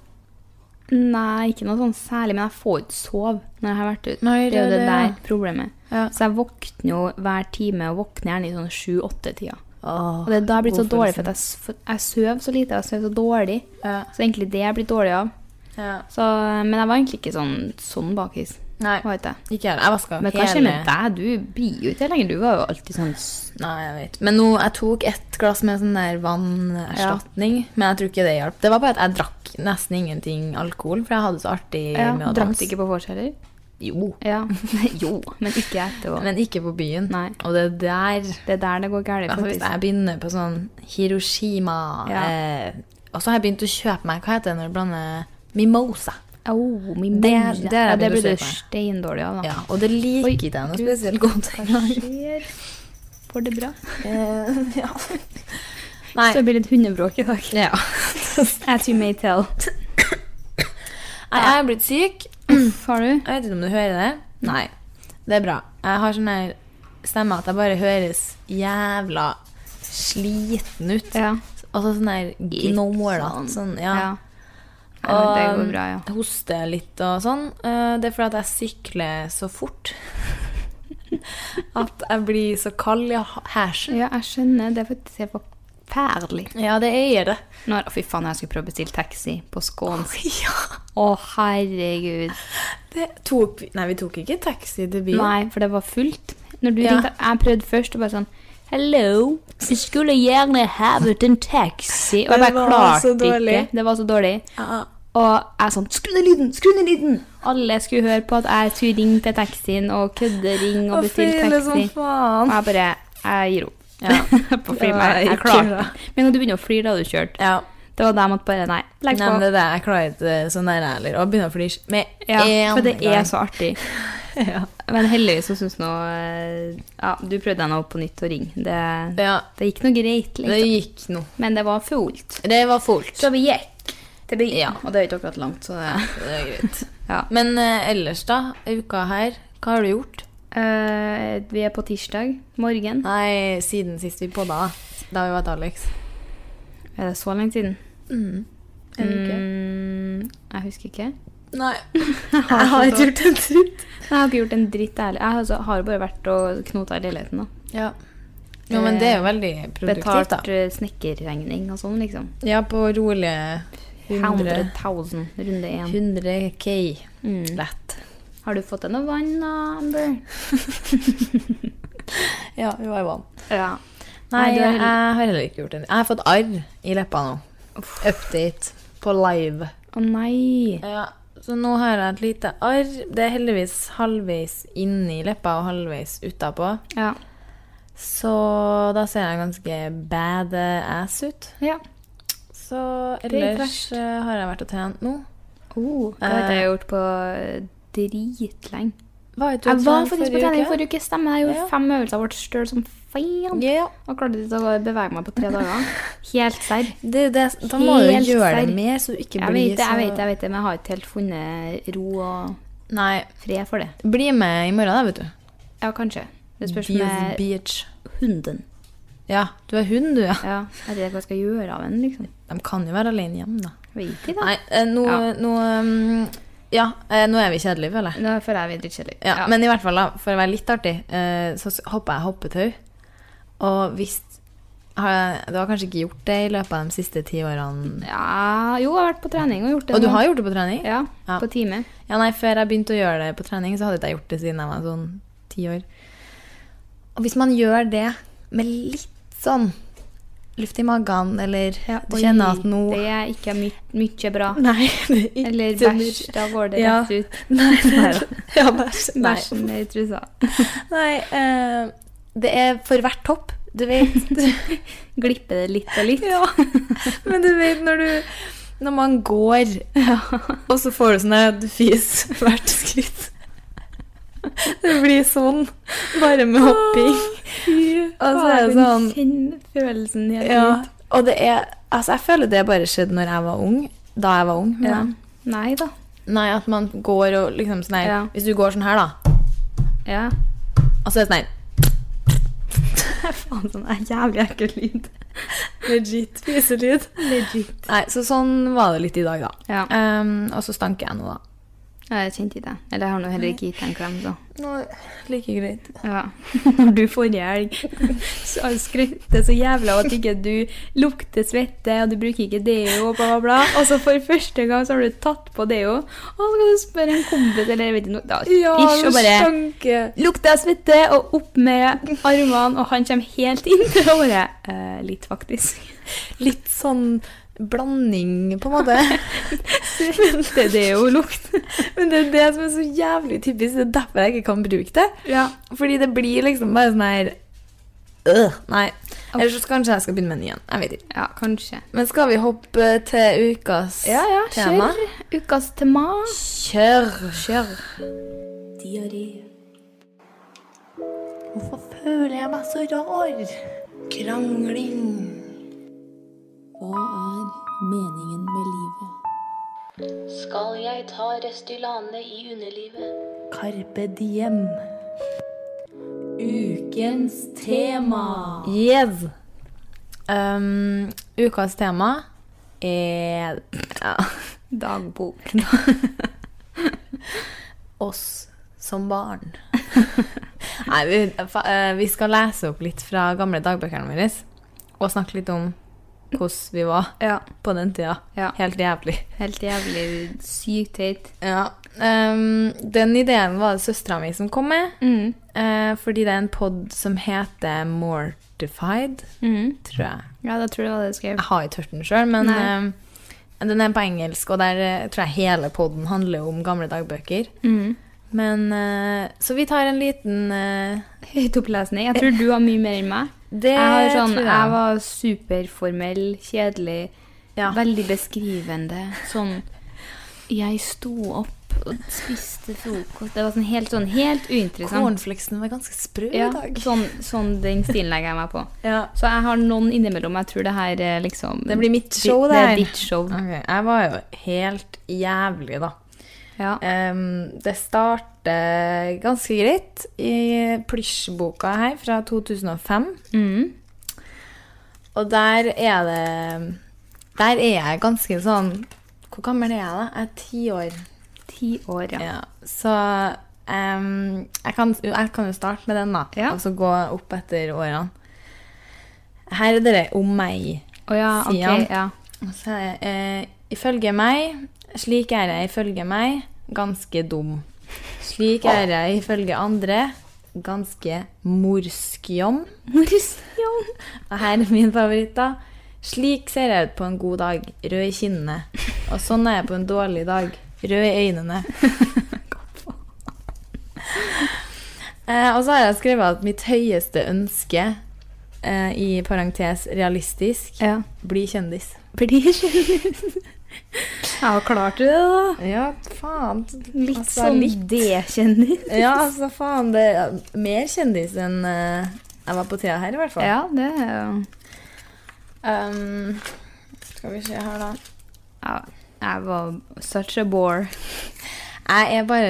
S2: Nei, ikke noe sånn særlig, men jeg får ikke sove når jeg har vært ute.
S1: Nei,
S2: det er jo
S1: det
S2: det
S1: er det,
S2: der
S1: ja.
S2: problemet.
S1: Ja.
S2: Så jeg våkner jo hver time, og våkner gjerne i sånn sju-åtte-tida.
S1: Åh,
S2: Og det er da jeg blir så
S1: god
S2: dårlig, for
S1: følelse.
S2: at jeg, s- for- jeg sover så lite, og jeg sover så dårlig.
S1: Ja.
S2: Så egentlig det jeg blir dårlig av.
S1: ja.
S2: Så, men jeg var egentlig ikke sånn, sånn bakis.
S1: Nei,
S2: Var ikke det.
S1: ikke jeg. Jeg vaska
S2: Men hva skjer med deg? Du blir jo ikke det lenger. Du var jo alltid sånn s-
S1: Nei, jeg vet. Men nå, jeg tok ett glass med sånn der vannerstatning, men jeg tror ikke det hjalp. Det var bare at jeg drakk nesten ingenting alkohol, for jeg hadde det så artig med å
S2: Drakk
S1: danse.
S2: du ikke på vors heller?
S1: Jo,
S2: Ja. jo, men ikke etterpå.
S1: men ikke på byen.
S2: Nei.
S1: Og det der
S2: det er der det går galt,
S1: Altså, hvis
S2: faktisk.
S1: jeg begynner på sånn Hiroshima
S2: Ja.
S1: eh, Og så har jeg begynt å kjøpe meg Hva heter det når du blander Mimosa.
S2: Au, min
S1: Det-
S2: mann.
S1: det er
S2: ja,
S1: det
S2: det
S1: du
S2: blir
S1: ser
S2: du
S1: på.
S2: steindårlig av, da.
S1: Ja, og det liker
S2: Oi,
S1: ikke jeg noe
S2: Gud.
S1: spesielt godt.
S2: Skjer. Får det bra.
S1: Eh, ja. Nei.
S2: Så det blir litt hundebråk i dag.
S1: Ja.
S2: As you may tell.
S1: Nei, jeg er blitt syk.
S2: Har du?
S1: Jeg vet ikke om du hører det. Nei. Det er bra. Jeg har sånn her stemme at jeg bare høres jævla sliten ut.
S2: Ja.
S1: Og så sånn der gnålete. Sånn, ja.
S2: ja. Ja, men det
S1: Og,
S2: går bra, ja.
S1: Hoster litt og sånn. Eh, Det er fordi at jeg sykler så fort. at jeg blir så kald i ha- hersen.
S2: Ja, jeg skjønner. Det er faktisk helt forferdelig.
S1: Ja, det er det.
S2: Når, fy faen, jeg skulle prøve å bestille taxi på skånsk.
S1: Ja,
S2: Å, herregud.
S1: det tok vi Nei, vi tok ikke taxi til byen.
S2: Nei, for det var fullt. Når du
S1: Ja.
S2: ringte, jeg prøvde først og bare sånn Hello, vi skulle gjerne hatt en taxi. Og jeg
S1: Det
S2: bare
S1: var
S2: klarte
S1: så dårlig.
S2: ikke. Det var så dårlig.
S1: Ja.
S2: Og jeg sånn Skru ned lyden! Skru ned lyden! Alle skulle høre på at jeg skulle ringe til taxien og kødde ring og
S1: Og
S2: bestille
S1: fele som
S2: taxi. Og
S1: faen.
S2: jeg bare Jeg gir opp.
S1: Ja.
S2: på fly meg.
S1: Det var
S2: Jeg
S1: ikke
S2: klarte
S1: bra.
S2: Men når du begynner å flire, da har du kjørt.
S1: ja.
S2: Det var da jeg måtte bare Nei,
S1: Nei,
S2: legg på.
S1: men det er det jeg klarer ikke sånn der heller. Og begynner å flire med
S2: Ja,
S1: en
S2: for det er
S1: gang.
S2: så artig.
S1: Ja.
S2: Men heldigvis så syns nå eh, Ja, du prøvde deg nå på nytt å ringe. Det,
S1: ja.
S2: det gikk noe greit,
S1: Det
S2: liksom.
S1: gikk nå.
S2: Men det var fullt.
S1: Det var fullt.
S2: Så vi gikk til byen.
S1: Ja.
S2: Og det er jo ikke akkurat langt, så det
S1: Det er greit.
S2: Ja.
S1: Men eh, ellers, da? i Uka her? Hva har du gjort?
S2: Eh, Vi er på tirsdag morgen.
S1: Nei, siden sist vi podda, da. Da vi var til Alex.
S2: Er det så lenge siden?
S1: En uke.
S2: Mm, jeg husker ikke.
S1: Mm, Nei.
S2: Jeg
S1: Jeg har ikke gjort en dritt.
S2: Jeg har ikke gjort en dritt ærlig. Jeg har altså- har bare vært og knota i leiligheten. da.
S1: Ja. Jo, men det er jo veldig produktivt,
S2: Betalt
S1: da.
S2: eh, snekkerregning og sånn, liksom.
S1: Ja, på rolige
S2: 100
S1: 100,
S2: 000, runde én.
S1: 100 K.
S2: Mm.
S1: Lett.
S2: Har du fått deg noe vann, da, Amber?
S1: Ja, hun har vann.
S2: Ja.
S1: Nei,
S2: Nei, du
S1: jeg
S2: har-
S1: har heller ikke gjort det. Jeg har fått arr i leppa nå. Update på live.
S2: Å nei.
S1: Ja, så nå har jeg et lite arr. Det er heldigvis halvveis inni leppa og halvveis utapå.
S2: Ja.
S1: Så da ser jeg ganske badass ut.
S2: ja.
S1: Så
S2: er ikke
S1: ellers
S2: verst.
S1: eh, har jeg vært og trent nå.
S2: Oh, det har ikke jeg gjort på eh, dritlenge.
S1: Var ikke du
S2: Jeg
S1: og
S2: var
S1: trent
S2: faktisk på
S1: forrige
S2: trening
S1: uke?
S2: forrige uke, stemmer. Jeg gjorde
S1: Ja.
S2: fem øvelser og ble støl som faen.
S1: Ja,
S2: Og klarte ikke å bevege meg på tre dager. Helt serr.
S1: det, det, da må du
S2: Helt
S1: gjøre det
S2: serr.
S1: mer, så du ikke
S2: Jeg
S1: blir
S2: vet det,
S1: så
S2: jeg vet det, jeg vet det, men jeg har ikke helt funnet ro og
S1: Nei,
S2: fred for det.
S1: bli med i morgen, da, vet du.
S2: Ja, kanskje. Det spørs
S1: Deals
S2: med
S1: Beach.
S2: hunden.
S1: Ja, du er hund, du, ja.
S2: Ja, jeg vet ikke hva jeg skal gjøre av den, liksom.
S1: De kan jo være alene hjemme, da.
S2: Jeg Vet ikke, da.
S1: Nei, eh, nå
S2: Ja.
S1: nå, um, ja, eh, nå er vi kjedelige, føler jeg.
S2: Nå føler jeg vi er drittkjedelige.
S1: Ja, Men i hvert fall, da, for å være litt artig, eh, så s- hoppa jeg hoppetau. Og hvis har jeg- Du har kanskje ikke gjort det i løpet av de siste ti årene?
S2: ja Jo, jeg har vært på trening og gjort det.
S1: Og du
S2: nå.
S1: har gjort det på trening?
S2: Ja,
S1: Ja.
S2: på time.
S1: Ja, nei, Før jeg begynte å gjøre det på trening, så hadde ikke jeg gjort det siden jeg var sånn ti år. Og hvis man gjør det med litt sånn luft i magen, eller du kjenner at nå
S2: Det er ikke my mye bra.
S1: Nei, det er
S2: Eller
S1: ikke
S2: bæsj. Da går det
S1: Ja.
S2: rett ut.
S1: Nei,
S2: Nei
S1: ja, bæsj. Nei.
S2: Bæsjen er i trusa.
S1: Nei eh, det er for hvert hopp, du vet.
S2: Glipper det litt og litt.
S1: Ja, men du vet når du Når man går, og så får du sånn her du fis hvert skritt. Det blir sånn, bare med hopping. Og så er det sånn
S2: Kjenn følelsen helt
S1: ja,
S2: ut.
S1: Og det er Altså, jeg føler det bare skjedde når jeg var ung. Da jeg var ung. men-
S2: Ja. Nei da.
S1: Nei, at man går og liksom sånn her
S2: Ja.
S1: Hvis du går sånn her, da,
S2: Ja.
S1: og så er det sånn her
S2: Faen, sånn er jævlig ekkel lyd.
S1: Legit fiselyd.
S2: Legit.
S1: Nei, så sånn var det litt i dag, da.
S2: Ja.
S1: Ehm, og så stanker jeg nå, da.
S2: Jeg kjente ikke det. Eller jeg har nå heller ikke gitt deg en klem, så.
S1: Nå, like greit.
S2: Ja. Når du forrige helg så skrøtte så jævla at ikke du lukter svette, og du bruker ikke deo, og bla, bla, bla. Og så for første gang så har du tatt på deo, og så skal du spørre en kompis eller jeg vet ikke noe. Da, ish, og bare lukter jeg svette, og opp med armene, og han kommer helt inn til håret. Eh, litt, faktisk.
S1: Litt sånn blanding, på en måte.
S2: Svette, deo, lukt.
S1: Men det er det som er så jævlig typisk. Det er derfor jeg ikke kan bruke det.
S2: Ja.
S1: Fordi det blir liksom bare sånn her øh, Nei. Ellers så kanskje jeg skal begynne med en ny en. Jeg vet ikke.
S2: ja, kanskje.
S1: Men skal vi hoppe til ukas
S2: Ja, ja,
S1: tema?
S2: kjør. Ukas tema.
S1: Kjør. Kjør.
S2: Diaré.
S3: Hvorfor føler jeg meg så rar? Krangling. Hva er meningen med livet?
S4: Skal jeg ta Restylane i underlivet?
S3: Carpe diem. Ukens tema.
S1: Yes. Um, ukas tema er ja,
S2: Dagbok.
S1: oss som barn. Nei, vi, fa- eh, vi skal lese opp litt fra gamle dagbøkene våre og snakke litt om hvordan vi var
S2: Ja.
S1: på den tida.
S2: Ja.
S1: Helt jævlig.
S2: Helt jævlig sykt teit.
S1: Ja. ehm, den ideen var det søstera mi som kom med, eh, fordi det er en pod som heter Mortified, tror jeg.
S2: Ja, da tror jeg det var det jeg skrev.
S1: Jeg har ikke hørt den sjøl, men
S2: Nei.
S1: ehm, den er på engelsk, og der eh, tror jeg hele poden handler om gamle dagbøker. Men eh, Så vi tar en liten eh,
S2: Høytopplesning. Jeg tror du har mye mer enn meg.
S1: Det
S2: jeg, har sånn,
S1: tror jeg.
S2: jeg. var superformell, kjedelig,
S1: Ja.
S2: veldig beskrivende. Sånn Jeg sto opp og spiste frokost. Det var sånn helt, sånn, helt
S1: liksom-
S2: uinteressant.
S1: Cornflakesen var ganske sprø
S2: Ja,
S1: i dag.
S2: sånn, sånn den stilen legger jeg meg på.
S1: Ja.
S2: Så jeg har noen innimellom. Jeg tror det her er liksom
S1: Det blir mitt show,
S2: det
S1: her.
S2: er ditt show.
S1: Ok, jeg var jo helt jævlig, da.
S2: Ja.
S1: Ehm, det starter ganske greit i plysjboka her fra 2005.
S2: Mm.
S1: Og der er det Der er jeg ganske sånn Hvor gammel er jeg, da? Jeg er ti år.
S2: ti år, ja.
S1: Ja, så em, jeg, kan, jeg kan jo starte med den, da.
S2: Ja.
S1: Og så gå opp etter årene. Her er det om meg.
S2: Å ja, ok,
S1: Sier han.
S2: ja.
S1: Og så er det, eh, ifølge meg, slik er jeg ifølge meg, ganske dum. Slik er jeg ifølge andre, ganske morskjom.
S2: Morskjom.
S1: Og her er min favoritt, da. Slik ser jeg ut på en god dag, rød i kinnene. Og sånn er jeg på en dårlig dag, rød i øynene. Eh, og så har jeg skrevet at mitt høyeste ønske, eh, i parentes realistisk,
S2: Ja.
S1: bli kjendis.
S2: Blir kjendis. Ja, klarte du det, da?
S1: Ja, faen.
S2: Litt
S1: Altså,
S2: sånn
S1: litt.
S2: D-kjendis.
S1: Ja, altså faen, det er mer kjendis enn eh, jeg var på tida her, i hvert fall.
S2: Ja, det er jo
S1: Um, skal vi se her, da.
S2: ja, Jeg var such a bore.
S1: Jeg er bare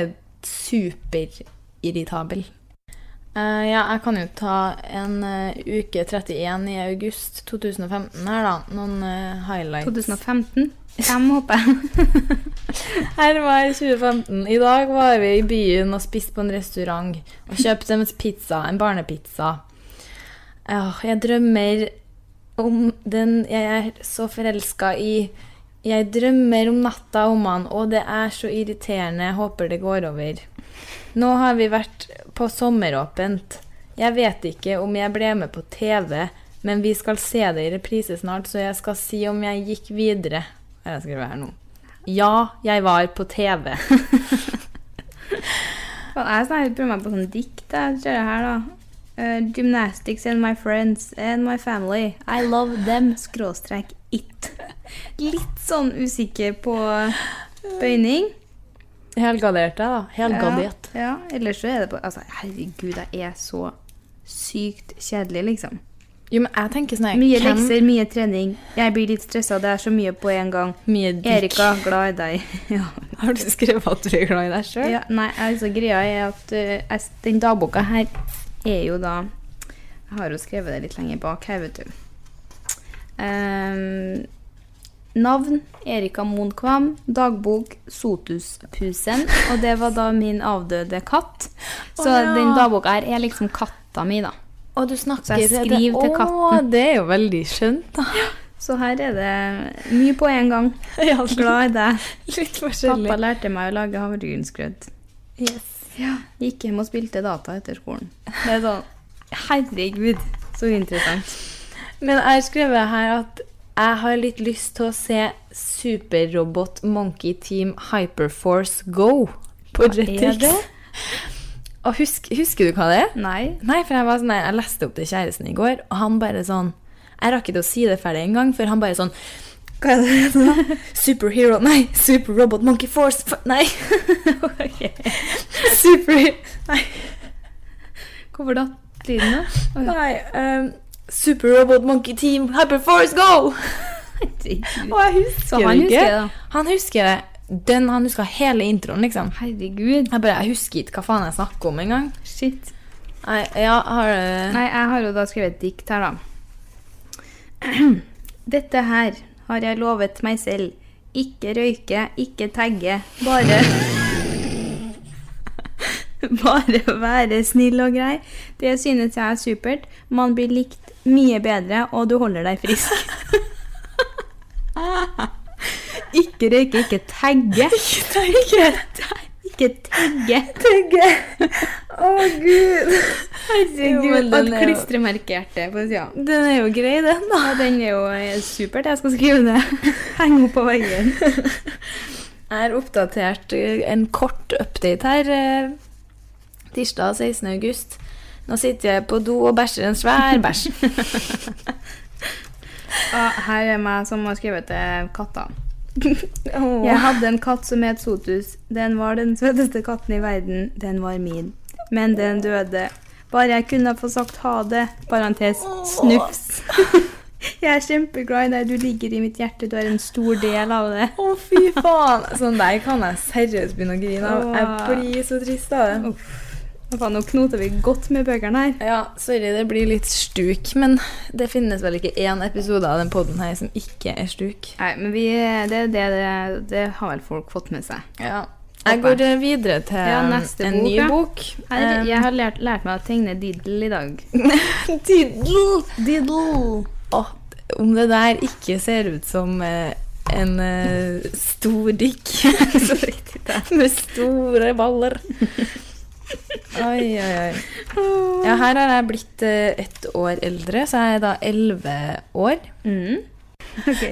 S1: superirritabel. Eh, ja, jeg kan jo ta en eh, uke 31 i august 2015 her, da. Noen eh, highlights.
S2: 2015. Fem, håper jeg.
S1: Her var 2015. I dag var vi i byen og spiste på en restaurant og kjøpte en pizza, en barnepizza. Åh, jeg drømmer om den jeg er så forelska i. Jeg drømmer om natta om han, og det er så irriterende. Jeg håper det går over. Nå har vi vært på sommeråpent. Jeg vet ikke om jeg ble med på TV, men vi skal se det i reprise snart, så jeg skal si om jeg gikk videre. Har jeg skrevet her nå? Ja, jeg var på TV.
S2: Faen, Jeg snart prøver meg på sånn dikt. Jeg kjører her, da. Eh, gymnastics and my friends and my family. I love them. Skråstrek it. Litt sånn usikker på bøyning.
S1: Helgardert deg, da. Helgardert.
S2: Ja, ja, ellers så er det på Altså, herregud, jeg er så sykt kjedelig, liksom.
S1: Jo, men jeg tenker sånn her,
S2: Mye
S1: hvem-
S2: lekser, mye trening. Jeg blir litt stressa, det er så mye på en gang.
S1: Mye dick.
S2: Erika, glad i deg. ja.
S1: Har du skrevet at du er glad i deg sjøl?
S2: ja. Nei, altså, greia er at eh, jeg, den dagboka her er jo da Jeg har jo skrevet det litt lenger bak her, vet du. Ehm, navn Erika Monkvam. Dagbok Sotuspusen. Og det var da min avdøde katt. Så
S1: ja.
S2: den dagboka her er liksom katta mi, da.
S1: Og du snakker
S2: Så jeg
S1: til-
S2: skriver til katten.
S1: Å, det er jo veldig skjønt, da.
S2: Så her er det mye på en gang.
S1: Ja,
S2: Glad i deg.
S1: Litt
S2: Pappa
S1: forskjellig.
S2: lærte meg å lage havregrynsgrøt. Gikk hjem og spilte data etter skolen. Det er sånn Herregud, så interessant.
S1: Men jeg har skrevet her at jeg har litt lyst til å se Superrobot Monkey Team Hyperforce Go på
S2: er
S1: Jetix.
S2: det?
S1: Og husk, husker du hva det er?
S2: Nei.
S1: Nei, for jeg var sånn der, jeg leste opp til kjæresten i går, og han bare sånn Jeg rakk ikke å si det ferdig engang, for han bare sånn Hva er det det heter? Superhero Nei! Super Robot Monkey Force f Nei! Super Nei.
S2: Hvorfor datt lyden nå?
S1: nei ehm, Super Robot Monkey Team Hyperforce Go! Og jeg husker
S2: Så han
S1: det ikke.
S2: husker det, da.
S1: Han husker det. Den, han husker hele introen, liksom.
S2: Herregud.
S1: Jeg bare, jeg husker ikke hva faen jeg snakker om engang.
S2: Shit.
S1: Nei, ja, har du
S2: Nei, jeg har jo da skrevet et dikt her, da. Dette her har jeg lovet meg selv. Ikke røyke, ikke tagge. Bare Bare være snill og grei. Det synes jeg er supert. Man blir likt mye bedre, og du holder deg frisk. Ikke røyke, ikke tagge. Ikke tagge. Ikke tagge.
S1: Å, gud! Jo, men
S2: Herregud, og
S1: den
S2: et
S1: er jo-
S2: klistremerkehjerte på sida.
S1: Den er jo grei, den, da.
S2: Ja, den er jo eh, supert. Jeg skal skrive det. Henge opp på veggen.
S1: Jeg har oppdatert eh, en kort update her. eh, Tirsdag 16. august. Nå sitter jeg på do og bæsjer en svær bæsj.
S2: Og Ah, her er meg som har skrevet til katta.
S1: Åh.
S2: Jeg hadde en katt som het Sotus. Den var den søteste katten i verden. Den var min. Men den døde. Bare jeg kunne få sagt ha det. Parentes snufs. Jeg er kjempeglad i deg. Du ligger i mitt hjerte. Du er en stor del av det.
S1: Å, fy faen! Sånn der kan jeg seriøst begynne å grine av.
S2: Åh.
S1: Jeg blir så trist av det.
S2: Hva faen, Nå knoter vi godt med bøkene her.
S1: Ja, sorry, det blir litt stuk, men det finnes vel ikke én episode av den poden her som ikke er stuk.
S2: Nei, men vi, det, det, det, det har vel folk fått med seg.
S1: Ja. Jeg
S2: Håper
S1: går eh, videre til
S2: Ja, neste
S1: en
S2: bok,
S1: ny
S2: ja.
S1: bok. Eh,
S2: Jeg, jeg har lært, lært meg å tegne diddle i dag.
S1: Diddle! Diddle! om det der ikke ser ut som eh, en eh, stor dikk Så riktig det er. Med store baller. Oi, oi, oi. Ja, her har jeg blitt eh, ett år eldre, så jeg er da elleve år.
S2: Mm. Ok.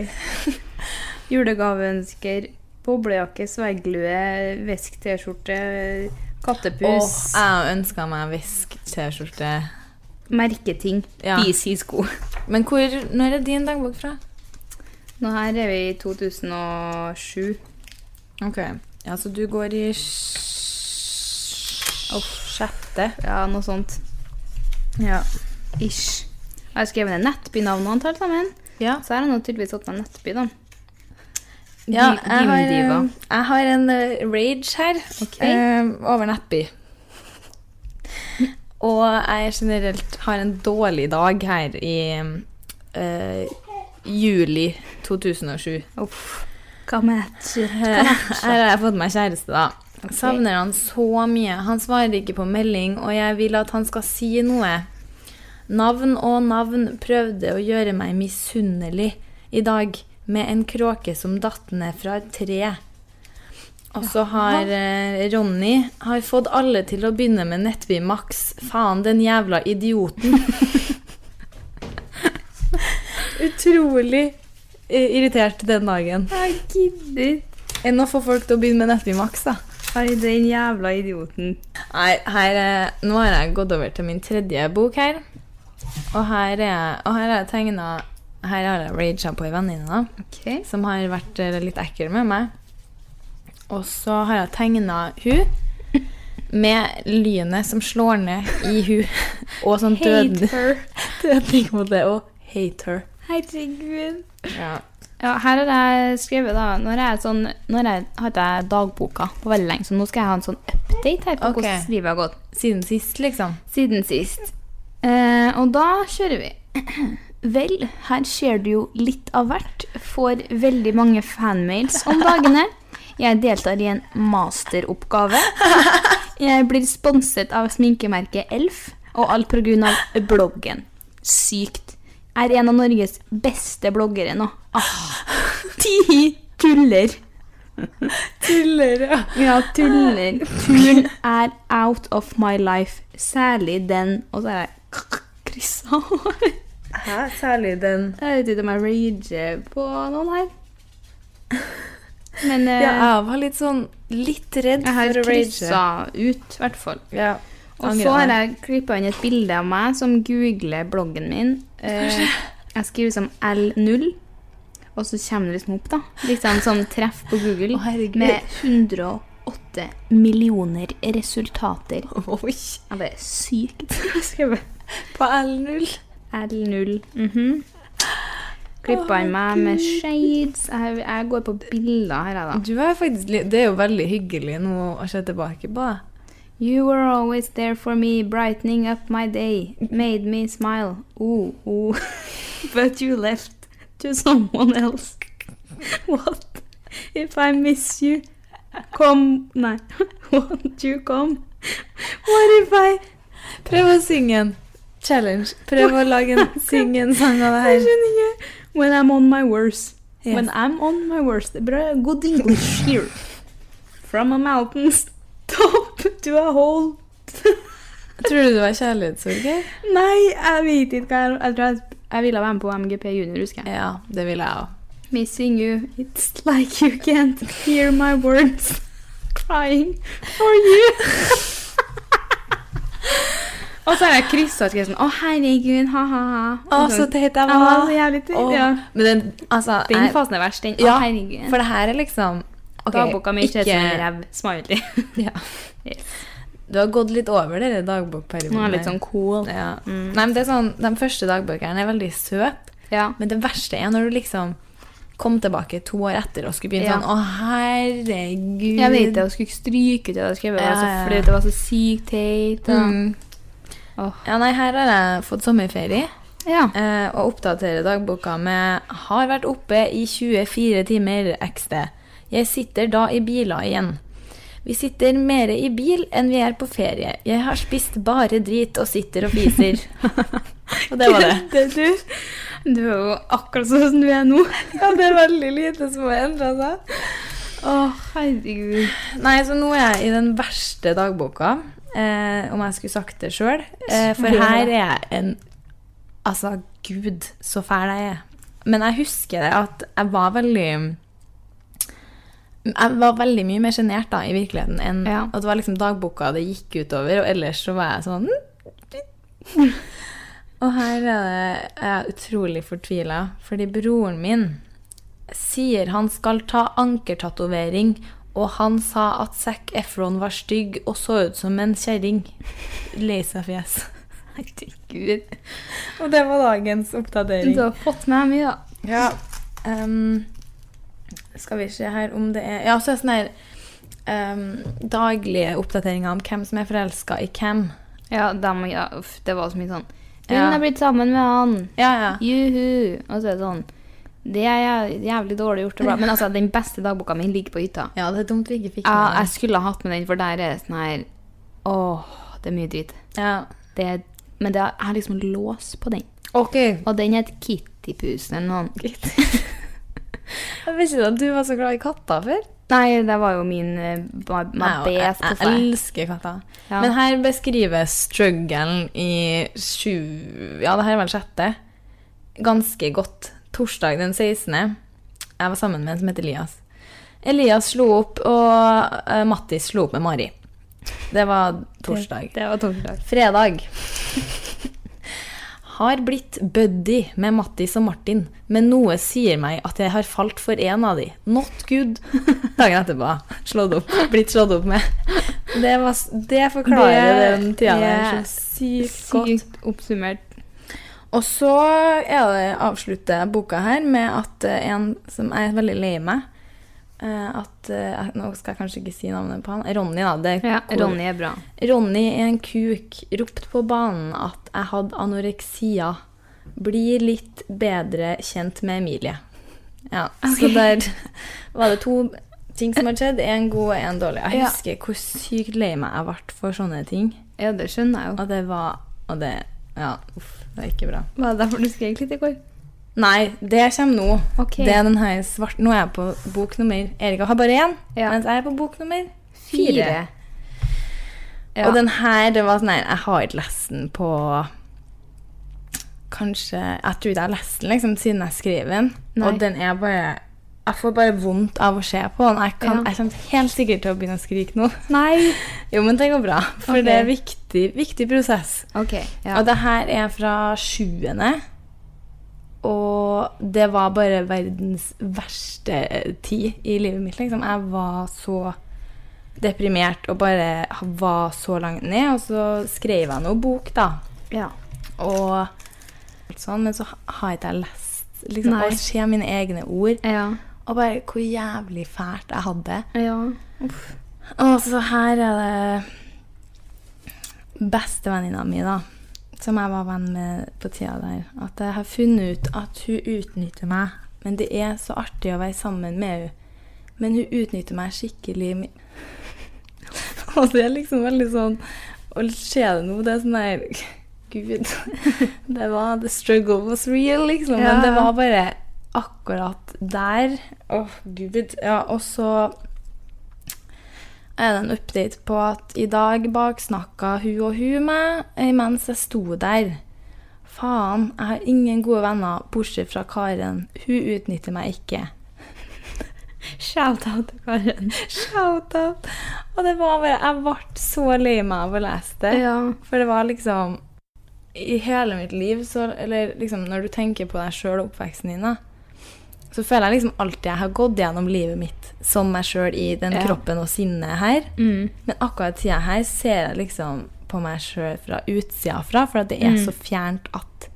S2: Julegaveønsker, boblejakke, svegglue, vesk T-skjorte, kattepus,
S1: Åh, jeg ønska meg visk-T-skjorte.
S2: merketing,
S1: Ja.
S2: Yeezy-sko.
S1: Men hvor, når er din dagbok fra?
S2: Nå her er vi i 2007.
S1: Ok. Ja, så du går i sj- sjette.
S2: Ja, noe sånt.
S1: Ja.
S2: Ish. Jeg har skrevet ned nettbynavnene hans, alle sammen.
S1: Ja,
S2: Så her har jeg nå tydeligvis hatt meg nettby, da.
S1: ja
S2: Dim-
S1: jeg, har,
S2: dimdiva.
S1: eh, jeg har en eh, rage her
S2: Ok.
S1: eh, over Nettby. Og jeg generelt har en dårlig dag her i eh, juli 2007.
S2: Uff. Hva med et
S1: Her har jeg fått meg kjæreste, da. Savner han så mye. Han svarer ikke på melding, og jeg vil at han skal si noe. Navn og navn prøvde å gjøre meg misunnelig i dag, med en kråke som datt ned fra et tre. Og så har eh, Ronny har fått alle til å begynne med Nettby Max. Faen, den jævla idioten. Utrolig eh, irritert den dagen.
S2: Jeg gidder ikke.
S1: Enn å få folk til å begynne med Nettby Max, da.
S2: Ai, den jævla idioten.
S1: Nei, her, er- nå har jeg gått over til min tredje bok her. Og her, er, og her har jeg tegnet Her har jeg raga på ei venninne, da
S2: Ok.
S1: som har vært eh, litt ekkel med meg. Og så har jeg tegna hun med lynet som slår ned i hun, og sånn døden, dødning mot det, og hate her.
S2: Herregud.
S1: Ja.
S2: Ja, her har jeg skrevet da Når jeg, er sånn, når jeg har ikke jeg dagboka på veldig lenge, så nå skal jeg ha en sånn update her på
S1: Ok.
S2: hvordan livet har gått
S1: Siden sist, liksom.
S2: siden sist. Eh, og da kjører vi. Vel, her ser du jo litt av hvert. Får veldig mange fanmails om dagene. Jeg deltar i en masteroppgave. Jeg blir sponset av sminkemerket Elf, og alt pga. bloggen. Sykt. Er en av Norges beste bloggere nå. Ah. Ti tuller.
S1: Tuller, ja.
S2: Ja, tuller. Tull er out of my life. Særlig den Og så er jeg k- kryssa over.
S1: Hæ? Særlig den
S2: Jeg vet ikke om jeg rager på noen her. Men eh,
S1: Ja, jeg var litt sånn litt redd
S2: jeg har
S1: for å rage.
S2: kryssa ut, i hvert fall.
S1: Ja.
S2: Og så har jeg klippa inn et bilde av meg som googler bloggen min. Eh, jeg skriver som L0, og så kommer det liksom opp, da. Liksom sånn treff på Google
S1: Å, herregud.
S2: med 108 millioner resultater.
S1: Oi!
S2: Ja, det er sykt. Skrevet
S1: På L0.
S2: L0. Mm -hmm. Klippa inn meg med shades. Jeg, jeg går på bilder her, jeg, da.
S1: Du er faktisk litt Det er jo veldig hyggelig nå å se tilbake på. da.
S2: You were always there for me, brightening up my day. Made me smile. Ooh, ooh. But you left to someone else. What if I miss you? Come Nei. Won't you come? What if I
S1: Prøv å synge en challenge. Prøv å lage en, synge en sang av det
S2: Jeg
S1: her.
S2: skjønner ikke. When I'm on my worst.
S1: Yes.
S2: When I'm on my worst. Det er bra good English here. From a mountain's top to a hole.
S1: Tror du det var kjærlighetssorg her?
S2: Nei, jeg vet ikke hva jeg Jeg tror jeg, jeg ville være med på MGP junior, husker jeg.
S1: Ja, det ville jeg òg.
S2: Missing you, it's like you can't hear my words. Crying for you. Og så har jeg kryssa og skrevet sånn Å, herregud, ha-ha-ha.
S1: Å, så teit jeg
S2: Jeg var
S1: var.
S2: så jævlig teit,
S1: Sånn Å,
S2: ja.
S1: Men den, altså
S2: Den
S1: jeg-
S2: fasen er verst, den.
S1: Ja,
S2: Å, herregud.
S1: For det her er liksom ok,
S2: Dagboka mi sånn ser ut som en
S1: ikke-
S2: ræv. Smiley.
S1: Ja.
S2: Yes.
S1: Du har gått litt over denne dagbokperioden.
S2: Nå er jeg litt
S1: her.
S2: sånn cool.
S1: ja.
S2: Mm.
S1: Nei, men det er sånn, De første dagbøkene er veldig søte,
S2: Ja.
S1: men det verste er når du liksom kom tilbake to år etter og skulle begynne
S2: Ja.
S1: sånn Å, herregud.
S2: Jeg vet det, jeg skulle ikke stryke ut det jeg hadde skrevet. Det var
S1: Ja, ja,
S2: så
S1: ja.
S2: flaut, det var så sykt teit. og-
S1: Mm.
S2: altså. Åh.
S1: Ja, nei, her har jeg fått sommerferie.
S2: Ja.
S1: eh, og oppdaterer dagboka med 'Har vært oppe i 24 timer XD'. Jeg sitter da i biler igjen. Vi sitter mere i bil enn vi er på ferie. Jeg har spist bare drit og sitter og fiser. og det var det.
S2: er du. Du er jo akkurat sånn som du er nå.
S1: Ja, det er veldig lite som har endra seg.
S2: Å, herregud.
S1: Nei, så nå er jeg i den verste dagboka, eh, om jeg skulle sagt det sjøl. Eh, for her er jeg en Altså, gud, så fæl jeg er. Men jeg husker det at jeg var veldig jeg var veldig mye mer sjenert i virkeligheten enn
S2: Ja.
S1: at det var liksom dagboka det gikk utover, og ellers så var jeg sånn Og her er det, jeg er utrolig fortvila, fordi broren min sier han skal ta ankertatovering, og han sa at Zac Efron var stygg og så ut som en kjerring. Lei seg fjes.
S2: Herregud.
S1: Og det var dagens oppdatering.
S2: Du har fått med deg mye, da.
S1: Ja. ehm, skal vi se her om det er Ja, så er det sånne her ehm, daglige oppdateringer om hvem som er forelska i hvem.
S2: Ja, dem, ja, uff, det var så mye sånn Hun
S1: Ja.
S2: har blitt sammen med han.
S1: Ja, ja.
S2: Juhu. Og så er det sånn Det er jæv- jævlig dårlig gjort. og bla. Men altså, den beste dagboka mi ligger på hytta.
S1: Ja, det er dumt vi ikke fikk
S2: Ja,
S1: med
S2: jeg skulle ha hatt med den, for der er det sånn her Åh, det er mye dritt.
S1: det. Ja.
S2: Det er, men det er, jeg har liksom lås på den.
S1: Ok.
S2: Og den heter Kittypusen eller noe.
S1: Jeg visste ikke at du var så glad i katter før.
S2: Nei, det var jo min eh, ma- ma-
S1: Nei, jeg,
S2: best på
S1: jeg
S2: feil.
S1: elsker katter.
S2: Ja.
S1: Men her beskrives strugglen i sju Ja, det her er vel sjette. Ganske godt. Torsdag den 16. Jeg var sammen med en som het Elias. Elias slo opp, og eh, Mattis slo opp med Mari. Det var torsdag.
S2: Det var torsdag.
S1: Fredag. Har blitt buddy med Mattis og Martin, men noe sier meg at jeg har falt for en av de. Not good. Dagen etterpå. Slått opp. Blitt slått opp med. Det, var, s- det forklarer
S2: Det
S1: den
S2: er
S1: tida der så sykt godt.
S2: Sykt oppsummert.
S1: Og så er det, avslutter jeg boka her med at eh, en som jeg er veldig lei meg eh, at, eh, jeg- Nå skal jeg kanskje ikke si navnet på han. Ronny, da. Det er
S2: Ja,
S1: hvor-
S2: Ronny er bra.
S1: Ronny er en kuk. Ropt på banen at jeg hadde anoreksia. Bli litt bedre kjent med Emilie. Ja, Så der var det to ting som hadde skjedd. En god og en dårlig. Jeg
S2: Ja.
S1: husker hvor sykt lei meg jeg ble for sånne ting.
S2: Ja, det skjønner jeg jo.
S1: Og det var Og det Ja, uff. Det er ikke bra.
S2: Var det derfor du skrek litt i går?
S1: Nei, det kommer nå.
S2: Ok.
S1: Det er den her svart... Nå er jeg på bok nummer Erika har bare én,
S2: Ja.
S1: mens jeg er på bok nummer fire.
S2: Ja.
S1: Og den her, det var sånn her, jeg har ikke lest den på Kanskje Jeg tror ikke jeg har lest den liksom, siden jeg skrev den.
S2: Nei.
S1: Og den er bare Jeg får bare vondt av å se på den. Jeg, kan,
S2: Ja.
S1: jeg kommer helt sikkert til å begynne å skrike nå.
S2: Nei.
S1: Jo, men det går bra, for
S2: Ok.
S1: det er viktig, viktig prosess.
S2: Ok. Ja.
S1: Og det her er fra sjuende. Og det var bare verdens verste tid i livet mitt. Liksom. Jeg var så deprimert og bare var så langt ned. Og så skrev jeg noe bok, da.
S2: ja.
S1: Og sånn, men så har ikke jeg lest liksom,
S2: Nei.
S1: og ser mine egne ord.
S2: Ja.
S1: Og bare hvor jævlig fælt jeg hadde det.
S2: ja.
S1: Og så her er det bestevenninna mi, da. Som jeg var venn med på tida der. At jeg har funnet ut at hun utnytter meg. Men det er så artig å være sammen med henne. Men hun utnytter meg skikkelig. mi- Og det er liksom veldig sånn Å se det nå, det er sånn der Gud. Det var The struggle was real, liksom.
S2: Ja,
S1: Men det
S2: ja.
S1: var bare akkurat der. Åh, gud. Ja, og så er det en update på at i dag baksnakka hun og hun meg eh, mens jeg sto der. Faen, jeg har ingen gode venner bortsett fra Karen. Hun utnytter meg ikke. Shout-out til Karen. Shout-out. Og det var bare Jeg ble så lei meg av å lese det.
S2: Ja.
S1: For det var liksom I hele mitt liv, så Eller liksom når du tenker på deg sjøl og oppveksten din, da, så føler jeg liksom alltid jeg har gått gjennom livet mitt som meg sjøl i den
S2: Ja.
S1: kroppen og sinnet her.
S2: Mm.
S1: Men akkurat tida her ser jeg liksom på meg sjøl fra utsida fra, for at det er
S2: Mm.
S1: så fjernt at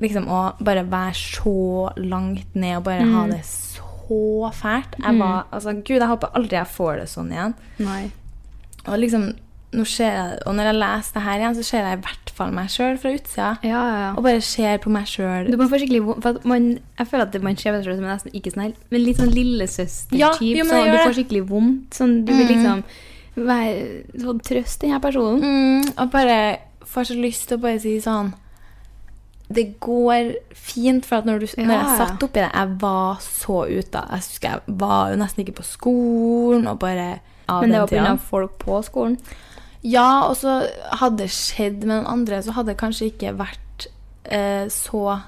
S1: liksom å bare være så langt ned og bare ha
S2: Mm.
S1: det så fælt. Jeg var, altså Gud, jeg håper aldri jeg får det sånn igjen.
S2: Nei.
S1: Og liksom, nå ser jeg, og når jeg leser det her igjen, så ser jeg i hvert fall meg sjøl fra utsida.
S2: Ja, ja, ja.
S1: Og bare ser på meg sjøl.
S2: Du må få skikkelig vo- for at man, Jeg føler at det- man ser på seg selv som nesten ikke snill, men litt sånn
S1: Ja,
S2: lillesøster-type.
S1: jo, men jeg
S2: sånn,
S1: gjør
S2: du får
S1: det.
S2: skikkelig vondt. Sånn, du vil liksom sånn
S5: Vær, så trøst denne personen.
S1: Mm, og bare får så lyst til å bare si sånn Det går fint, for at når, du, når jeg
S5: ja.
S1: satt oppi det Jeg var så ute. av- Jeg husker jeg var jo nesten ikke på skolen. og bare... av
S5: Men
S1: den
S5: det var
S1: tiden.
S5: pga. folk på skolen.
S1: Ja, og så hadde det skjedd med den andre, så hadde det kanskje ikke vært eh, så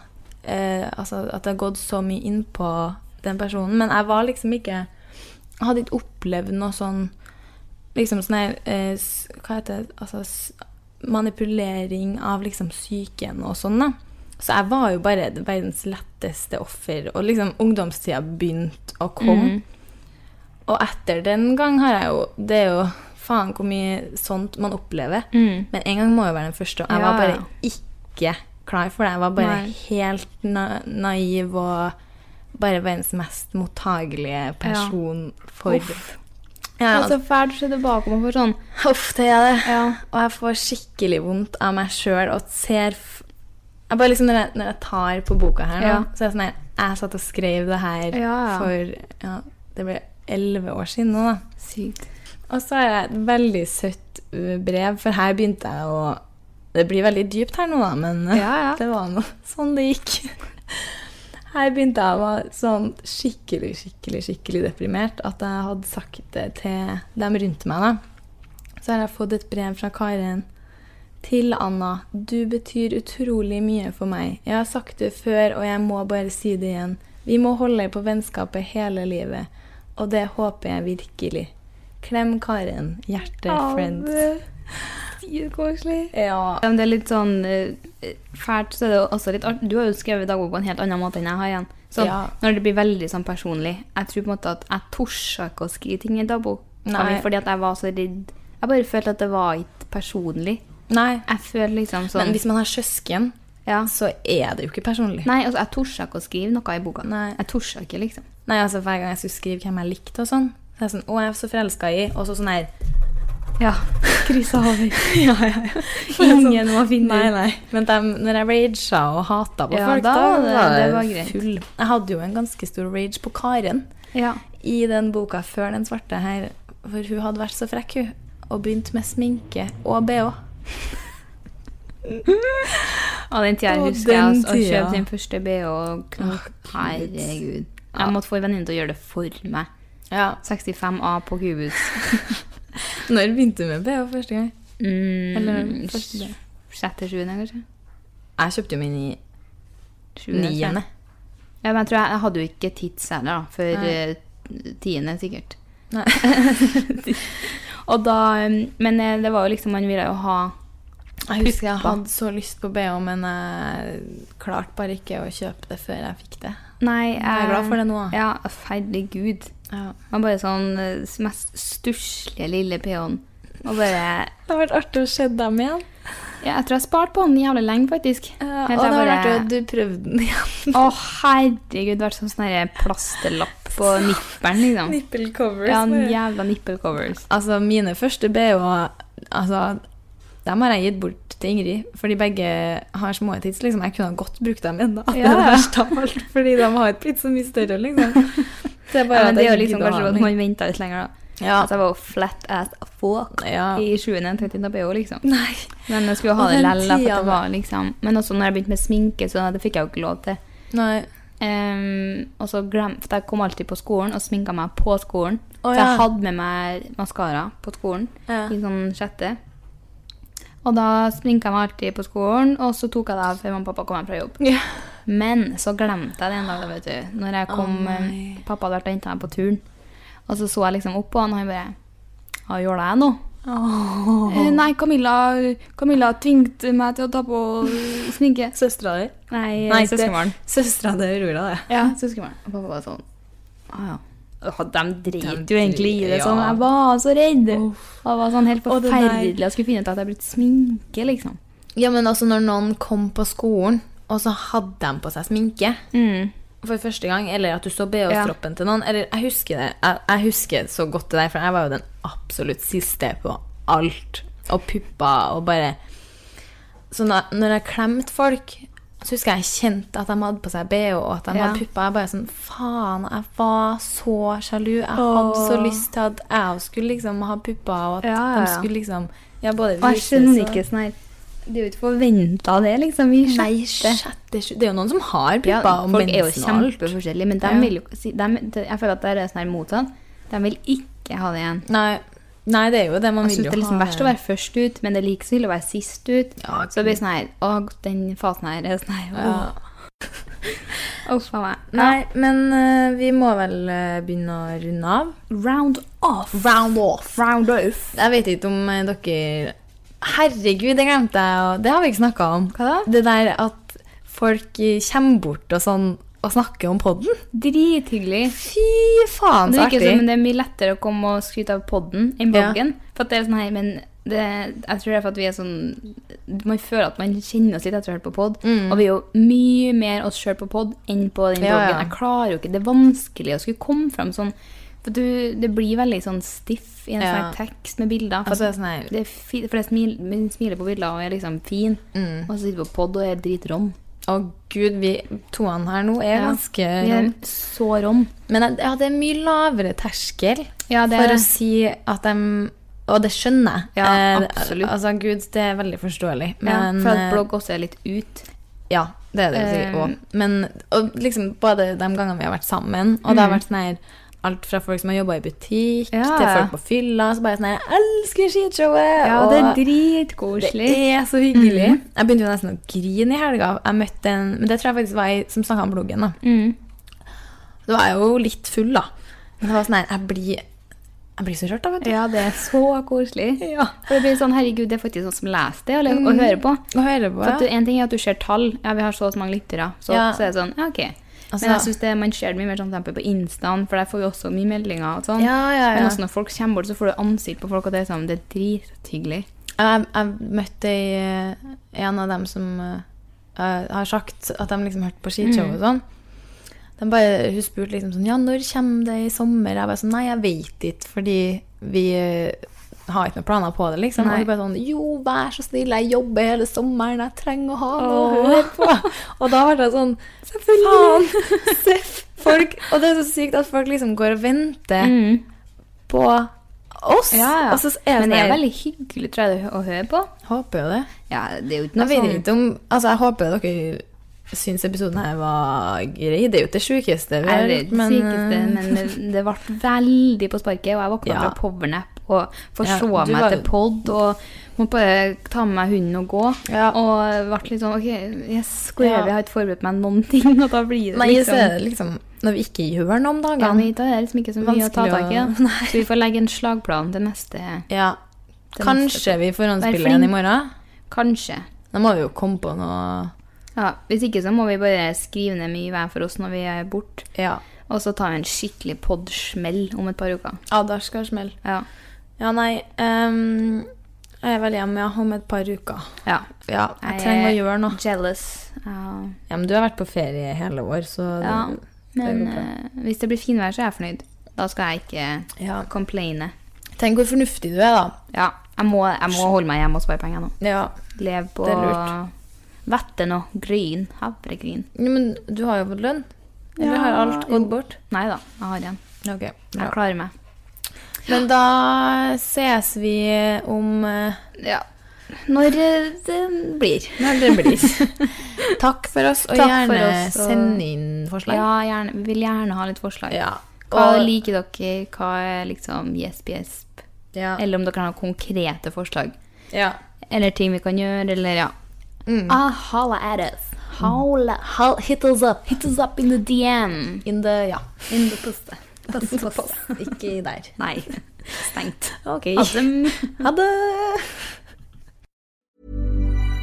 S1: eh, Altså at det har gått så mye inn på den personen. Men jeg var liksom ikke Jeg hadde ikke opplevd noe sånn Liksom sånn her eh, s- Hva heter det Altså s- manipulering av liksom psyken og sånn, da. Så jeg var jo bare verdens letteste offer, og liksom ungdomstida begynte å komme.
S5: Mm.
S1: Og etter den gang har jeg jo Det er jo faen hvor mye sånt man opplever. Men en gang må jo være den første, og jeg
S5: Ja,
S1: var bare
S5: Mm. ja.
S1: ikke klar for det. Jeg var bare
S5: Nei.
S1: helt na naiv og bare verdens mest mottagelige person for ja, altså.
S5: Det var så fælt å se tilbake på for sånn.
S1: Uff, det er det.
S5: Ja.
S1: Og jeg får skikkelig vondt av meg sjøl og ser f jeg bare liksom, når, jeg, når jeg tar på boka her nå,
S5: Ja.
S1: så er jeg sånn her Jeg satt og skrev det her
S5: Ja, ja.
S1: for ja, Det ble elleve år siden nå, da.
S5: Sykt.
S1: Og så har jeg et veldig søtt ø, brev, for her begynte jeg å Det blir veldig dypt her nå, da, men ø,
S5: Ja, ja.
S1: det var nå sånn det gikk. Her begynte jeg å være sånn skikkelig, skikkelig, skikkelig deprimert at jeg hadde sagt det til dem rundt meg, da. Så har jeg fått et brev fra Karen. Til Anna. Du betyr utrolig mye for meg. Jeg har sagt det før, og jeg må bare si det igjen. Vi må holde på vennskapet hele livet, og det håper jeg virkelig. Klem Karen. Hjerte friends.
S5: Sykt koselig.
S1: Ja.
S5: Ja, men det er litt sånn eh, fælt, så er det jo også litt artig. Du har jo skrevet dagbok på en helt annen måte enn jeg har igjen. Så
S1: Ja.
S5: når det blir veldig sånn personlig Jeg tror på en måte at jeg torde ikke å skrive ting i dagbok.
S1: Nei.
S5: Fordi at jeg var så redd. Jeg bare følte at det var ikke personlig.
S1: Nei.
S5: Jeg føler liksom sånn
S1: Men hvis man har søsken,
S5: ja.
S1: så er det jo ikke personlig.
S5: Nei, altså, jeg torde ikke å skrive noe i boka.
S1: Nei.
S5: Jeg torde ikke, liksom.
S1: Nei, altså Hver gang jeg skulle skrive hvem jeg likte, og sånn så er jeg sånn, Å, jeg er så forelska i Og så sånn her
S5: Ja. Krisa over.
S1: ja, ja, ja.
S5: Ingen må finne
S1: Nei,
S5: ut.
S1: nei. Men dem, når jeg raga og hata på
S5: Ja,
S1: folk,
S5: da var det- det var
S1: jeg
S5: greit.
S1: full. Jeg hadde jo en ganske stor rage på Karen
S5: Ja.
S1: i den boka før den svarte her, for hun hadde vært så frekk, hun, og begynt med sminke og bh.
S5: Og den tida
S1: Å,
S5: jeg husker jeg
S1: den
S5: altså, å
S1: tida.
S5: kjøpe sin første BH. og knok. Herregud. Jeg måtte få en venninne til å gjøre det for meg.
S1: Ja.
S5: 65A på Cubus.
S1: Når begynte du med bh første gang?
S5: Mm,
S1: Eller første
S5: s- sjette, sjuende, kanskje?
S1: Jeg kjøpte jo min i
S5: Sjuende, tror jeg.
S1: niende.
S5: Ja, men jeg tror jeg, jeg hadde jo ikke tids heller, da. Før
S1: Nei.
S5: eh, tiende, sikkert.
S1: Nei.
S5: Og da um, Men eh, det var jo liksom Man ville jo ha
S1: Jeg husker jeg
S5: Puppa.
S1: hadde så lyst på bh, men jeg klarte bare ikke å kjøpe det før jeg fikk det.
S5: Nei,
S1: Jeg er glad for det nå. da.
S5: Ja, herregud.
S1: Ja.
S5: Man bare sånn eh, s- mest stusslige lille peon. Og bare
S1: Det har vært artig å se dem igjen.
S5: Ja, jeg tror jeg sparte på den jævlig lenge, faktisk.
S1: Ja, og
S5: Helt
S1: det
S5: til jeg
S1: har vært
S5: bare-
S1: at du prøvde den igjen.
S5: Å, herregud, vært sånn sånn her plasterlapp på nipperen, liksom.
S1: Nipple covers.
S5: Ja, en jævla nipple covers.
S1: altså, mine første BH-er altså, Dem har jeg gitt bort til Ingrid, fordi begge har små tids. Liksom. Jeg kunne ha godt brukt dem ennå. Det er det
S5: Ja.
S1: verste av alt, fordi de har ikke blitt så mye større, liksom. Så jeg bare
S5: Ja,
S1: at
S5: men det
S1: jeg
S5: er jo liksom
S1: gidder å
S5: kanskje
S1: ha
S5: at
S1: den.
S5: man venta litt lenger, da.
S1: ja.
S5: Altså, jeg var jo flat as a fuck
S1: ja.
S5: i 7. til BH, liksom.
S1: Nei.
S5: Men jeg skulle jo ha
S1: Og
S5: det
S1: den
S5: lell, da, for
S1: tida
S5: at det var liksom Men også når jeg begynte med sminke, så det fikk jeg jo ikke lov til.
S1: Nei.
S5: Ehm, og så glem, for jeg kom alltid på skolen og sminka meg på skolen.
S1: Å,
S5: så
S1: ja.
S5: jeg hadde med meg maskara på skolen
S1: Ja.
S5: i sånn sjette. Og da sminka jeg meg alltid på skolen, og så tok jeg det av før mamma og pappa kom hjem fra jobb.
S1: Ja.
S5: Men så glemte jeg det en dag, da, vet du. Når jeg kom,
S1: Å, nei.
S5: eh, Pappa hadde vært og henta meg på turen. Og så så jeg liksom opp på han, og han bare Hva gjør jeg nå? Eh, Nei, Camilla, Camilla tvingte meg til å ta på sminke.
S1: Søstera di?
S5: Nei,
S1: Nei, det-
S5: søskenbarn.
S1: Søstera til Aurora, det.
S5: Ja, søskenbarn. Og pappa var sånn ah, ja. Åh, De dreit
S1: De
S5: jo egentlig i det.
S1: dreit-
S5: Sånn.
S1: ja.
S5: Jeg var så redd. Jeg var sånn helt
S1: Og det der-
S5: forferdelig. Jeg skulle finne ut at jeg brukte sminke, liksom.
S1: Ja, men altså når noen kom på skolen, og så hadde de på seg sminke
S5: Mm.
S1: for første gang, eller at du så BH-stroppen til noen, eller jeg husker det, jeg, jeg husker så godt det der, for jeg var jo den absolutt siste på alt, og puppa, og bare... Så når, når jeg klemte folk, Så husker jeg jeg kjente at de hadde på seg BH og at de
S5: Ja.
S1: hadde pupper. Jeg bare sånn Faen, jeg var så sjalu. Jeg hadde så lyst til at jeg også skulle liksom ha pupper, og at
S5: Ja, ja, ja.
S1: de skulle liksom ja, både
S5: Og jeg
S1: vises
S5: skjønner
S1: og-
S5: ikke sånn her Det er jo ikke forventa, det, liksom. Vi
S1: Nei,
S5: skjøtter.
S1: sjette, sju Det er jo noen som har
S5: Ja,
S1: pupper og
S5: folk er jo
S1: mensen og alt.
S5: kjempeforskjellige, men de
S1: Ja.
S5: vil jo si- dem- de, Jeg føler at det er sånn her motsatt. De vil ikke ha det igjen.
S1: Nei, nei, det er jo det. Man
S5: Jeg
S1: vil
S5: synes
S1: jo
S5: det er liksom
S1: ha eh,
S5: verst å være først ut, men det er like så ille å være sist ut.
S1: Ja,
S5: så det blir sånn her Å, den fasen her er sånn her
S1: ja.
S5: Åh, åh, faen meg. Ja.
S1: Nei, men eh, vi må vel eh, begynne å runde av.
S5: Round off.
S1: Round off.
S5: Round off.
S1: Jeg vet ikke om eh, dere Herregud, det glemte jeg. og Det har vi ikke snakka om. Hva da? Det der at folk eh, kommer bort og sånn og snakker om podden.
S5: Drithyggelig.
S1: Fy faen,
S5: Det
S1: så
S5: virker
S1: artig.
S5: som det er mye lettere å komme og skryte av podden enn
S1: Ja.
S5: bloggen. For at det er sånn her, men det, jeg tror det er for at vi er sånn Man føler at man kjenner oss litt etter å ha hørt på pod. Og vi er jo mye mer oss sjøl på pod enn på den
S1: Mm. Ja,
S5: bloggen.
S1: ja.
S5: Jeg klarer jo ikke, Det er vanskelig å skulle komme fram sånn. For du, det blir veldig sånn stiff i en
S1: Ja.
S5: sånn her tekst med bilder. For,
S1: Altså,
S5: at
S1: sånn her-
S5: det er fi, for jeg smil, men smiler på bilder og er liksom fin,
S1: Mm.
S5: og så sitter du på pod og er dritrom.
S1: Å gud, vi toene her nå er
S5: Ja.
S1: ganske
S5: Vi er så rom.
S1: Men eh, ja, det er mye lavere terskel
S5: Ja, det er
S1: for å
S5: det.
S1: si at de Og det skjønner jeg.
S5: Ja,
S1: Eh,
S5: absolutt.
S1: Altså, gud, det er veldig forståelig. Men
S5: ja, for at Eh,
S1: eh,
S5: blogg også er litt ut.
S1: Ja, det er det sikkert òg. Men og liksom, både de gangene vi har vært sammen, og det har vært sånn her Alt fra folk som har jobba i butikk,
S5: Mm. Ja,
S1: til
S5: ja.
S1: folk på fylla. Så bare sånn her Jeg elsker skishowet!
S5: Ja,
S1: og
S5: det er Mm. dritkoselig.
S1: det er så hyggelig. Jeg begynte jo nesten å grine i helga. Jeg møtte en Men det tror jeg faktisk var ei som snakka om bloggen, da.
S5: Mm.
S1: Da var jeg jo litt full, da. Men det var sånn her Jeg blir, jeg blir så rørt, da, vet du.
S5: Ja, det er så koselig. For det blir sånn, herregud, det er faktisk noen som leser det eller, og hører på.
S1: Å høre på.
S5: For at du,
S1: Ja.
S5: en ting er at du ser tall. Ja, vi har så og så mange lyttere. Så,
S1: Ja.
S5: så er det sånn, ja, ok.
S1: Altså-
S5: Men jeg synes det, man ser det mye mer sånn, for eksempel på Instaen, for der får vi også mye meldinger og sånn.
S1: Ja, ja, ja.
S5: Men også når folk kommer bort, så får du ansikt på folk, og det er sånn, det er drithyggelig.
S1: Jeg, jeg møtte ei, eh, en av dem som eh, eh, har sagt at de liksom hørte på skishow
S5: Mm.
S1: og sånn. De bare, hun spurte liksom sånn Ja, når kommer det i sommer? Jeg bare sånn Nei, jeg vet ikke, fordi vi eh, har ikke noen planer på det, liksom.
S5: Nei.
S1: Og de bare sånn Jo, vær så snill, jeg jobber hele sommeren, jeg trenger å ha noe å høre på. Og da ble det sånn Faen! Seff! Folk, og det er så sykt at folk liksom går og
S5: Mm.
S1: venter på oss. Og så er det
S5: Men det er
S1: sånn her-
S5: veldig hyggelig, tror jeg, det å høre på.
S1: Håper jo det.
S5: Ja, det er jo
S1: Nå
S5: ikke noe
S1: vet jeg
S5: sånn...
S1: ikke om Altså, jeg håper dere syns episoden her var grei. Det er jo ikke det sjukeste vi
S5: Jeg
S1: har
S5: er
S1: gjort,
S5: redd
S1: men eh,
S5: sykeste, men det, det ble veldig på sparket, og jeg våkna
S1: Ja.
S5: fra powernap og
S1: Ja,
S5: forså
S1: du
S5: meg
S1: var-
S5: til pod og måtte bare ta med meg hunden og gå.
S1: Ja.
S5: Og ble litt sånn OK, yes, hvor er
S1: Ja.
S5: vi? Jeg har ikke forberedt meg noen ting. Og da blir det
S1: Nei, så
S5: liksom
S1: er det liksom Når vi ikke gjør noe om
S5: ja,
S1: dagene
S5: men da er det liksom ikke så mye å ta
S1: Vanskelig
S5: tak i. da.
S1: å- Nei.
S5: Så vi får legge en slagplan til neste
S1: Ja.
S5: Det
S1: Kanskje
S5: neste-
S1: vi
S5: Vær
S1: forhåndsspiller
S5: flink.
S1: en i morgen?
S5: Kanskje.
S1: Da må vi jo komme på noe
S5: Ja, Hvis ikke så må vi bare skrive ned mye hver for oss når vi er borte.
S1: Ja.
S5: Og så tar vi en skikkelig pod-smell om et par uker.
S1: Adar skal smelle.
S5: Ja.
S1: Ja, nei ehm, Jeg er vel hjemme ja, om et par uker.
S5: ja.
S1: Ja, jeg trenger å
S5: er
S1: gjøre noe.
S5: Jealous. Ja.
S1: Ja, men du har vært på ferie hele år, så
S5: Ja,
S1: det
S5: men
S1: går bra.
S5: eh, hvis det blir finvær, så er jeg fornøyd. Da skal jeg ikke
S1: Ja.
S5: complaine.
S1: Tenk hvor fornuftig du er, da.
S5: Ja, jeg må, jeg må holde meg hjemme og spare penger nå.
S1: Ja.
S5: Leve på
S1: Det er lurt.
S5: vetten og gryn. Havregryn.
S1: Ja, Men du har jo fått lønn. Eller
S5: Ja,
S1: har alt gått
S5: jo.
S1: bort?
S5: Nei da, jeg har igjen.
S1: Ok,
S5: Jeg klarer meg.
S1: Men da ses vi om eh,
S5: Ja. Når eh, det blir.
S1: når det blir. Takk for oss, og
S5: Takk for
S1: gjerne
S5: oss, og-
S1: send inn forslag.
S5: Ja, gjerne. Vi vil gjerne ha litt forslag.
S1: Ja,
S5: Hva
S1: og-
S5: liker dere? Hva er liksom gjesp, gjesp?
S1: Ja.
S5: Eller om dere har konkrete forslag.
S1: Ja.
S5: Eller ting vi kan gjøre, eller ja. Mm.
S6: Ah, holla at us. Holla. Hol- hit us up.
S5: Hit us up in the DM.
S1: In the, ja.
S5: In the poste.
S1: Ikke der.
S5: Nei. Stengt.
S1: Ok.
S5: Ha det.
S1: Ha det!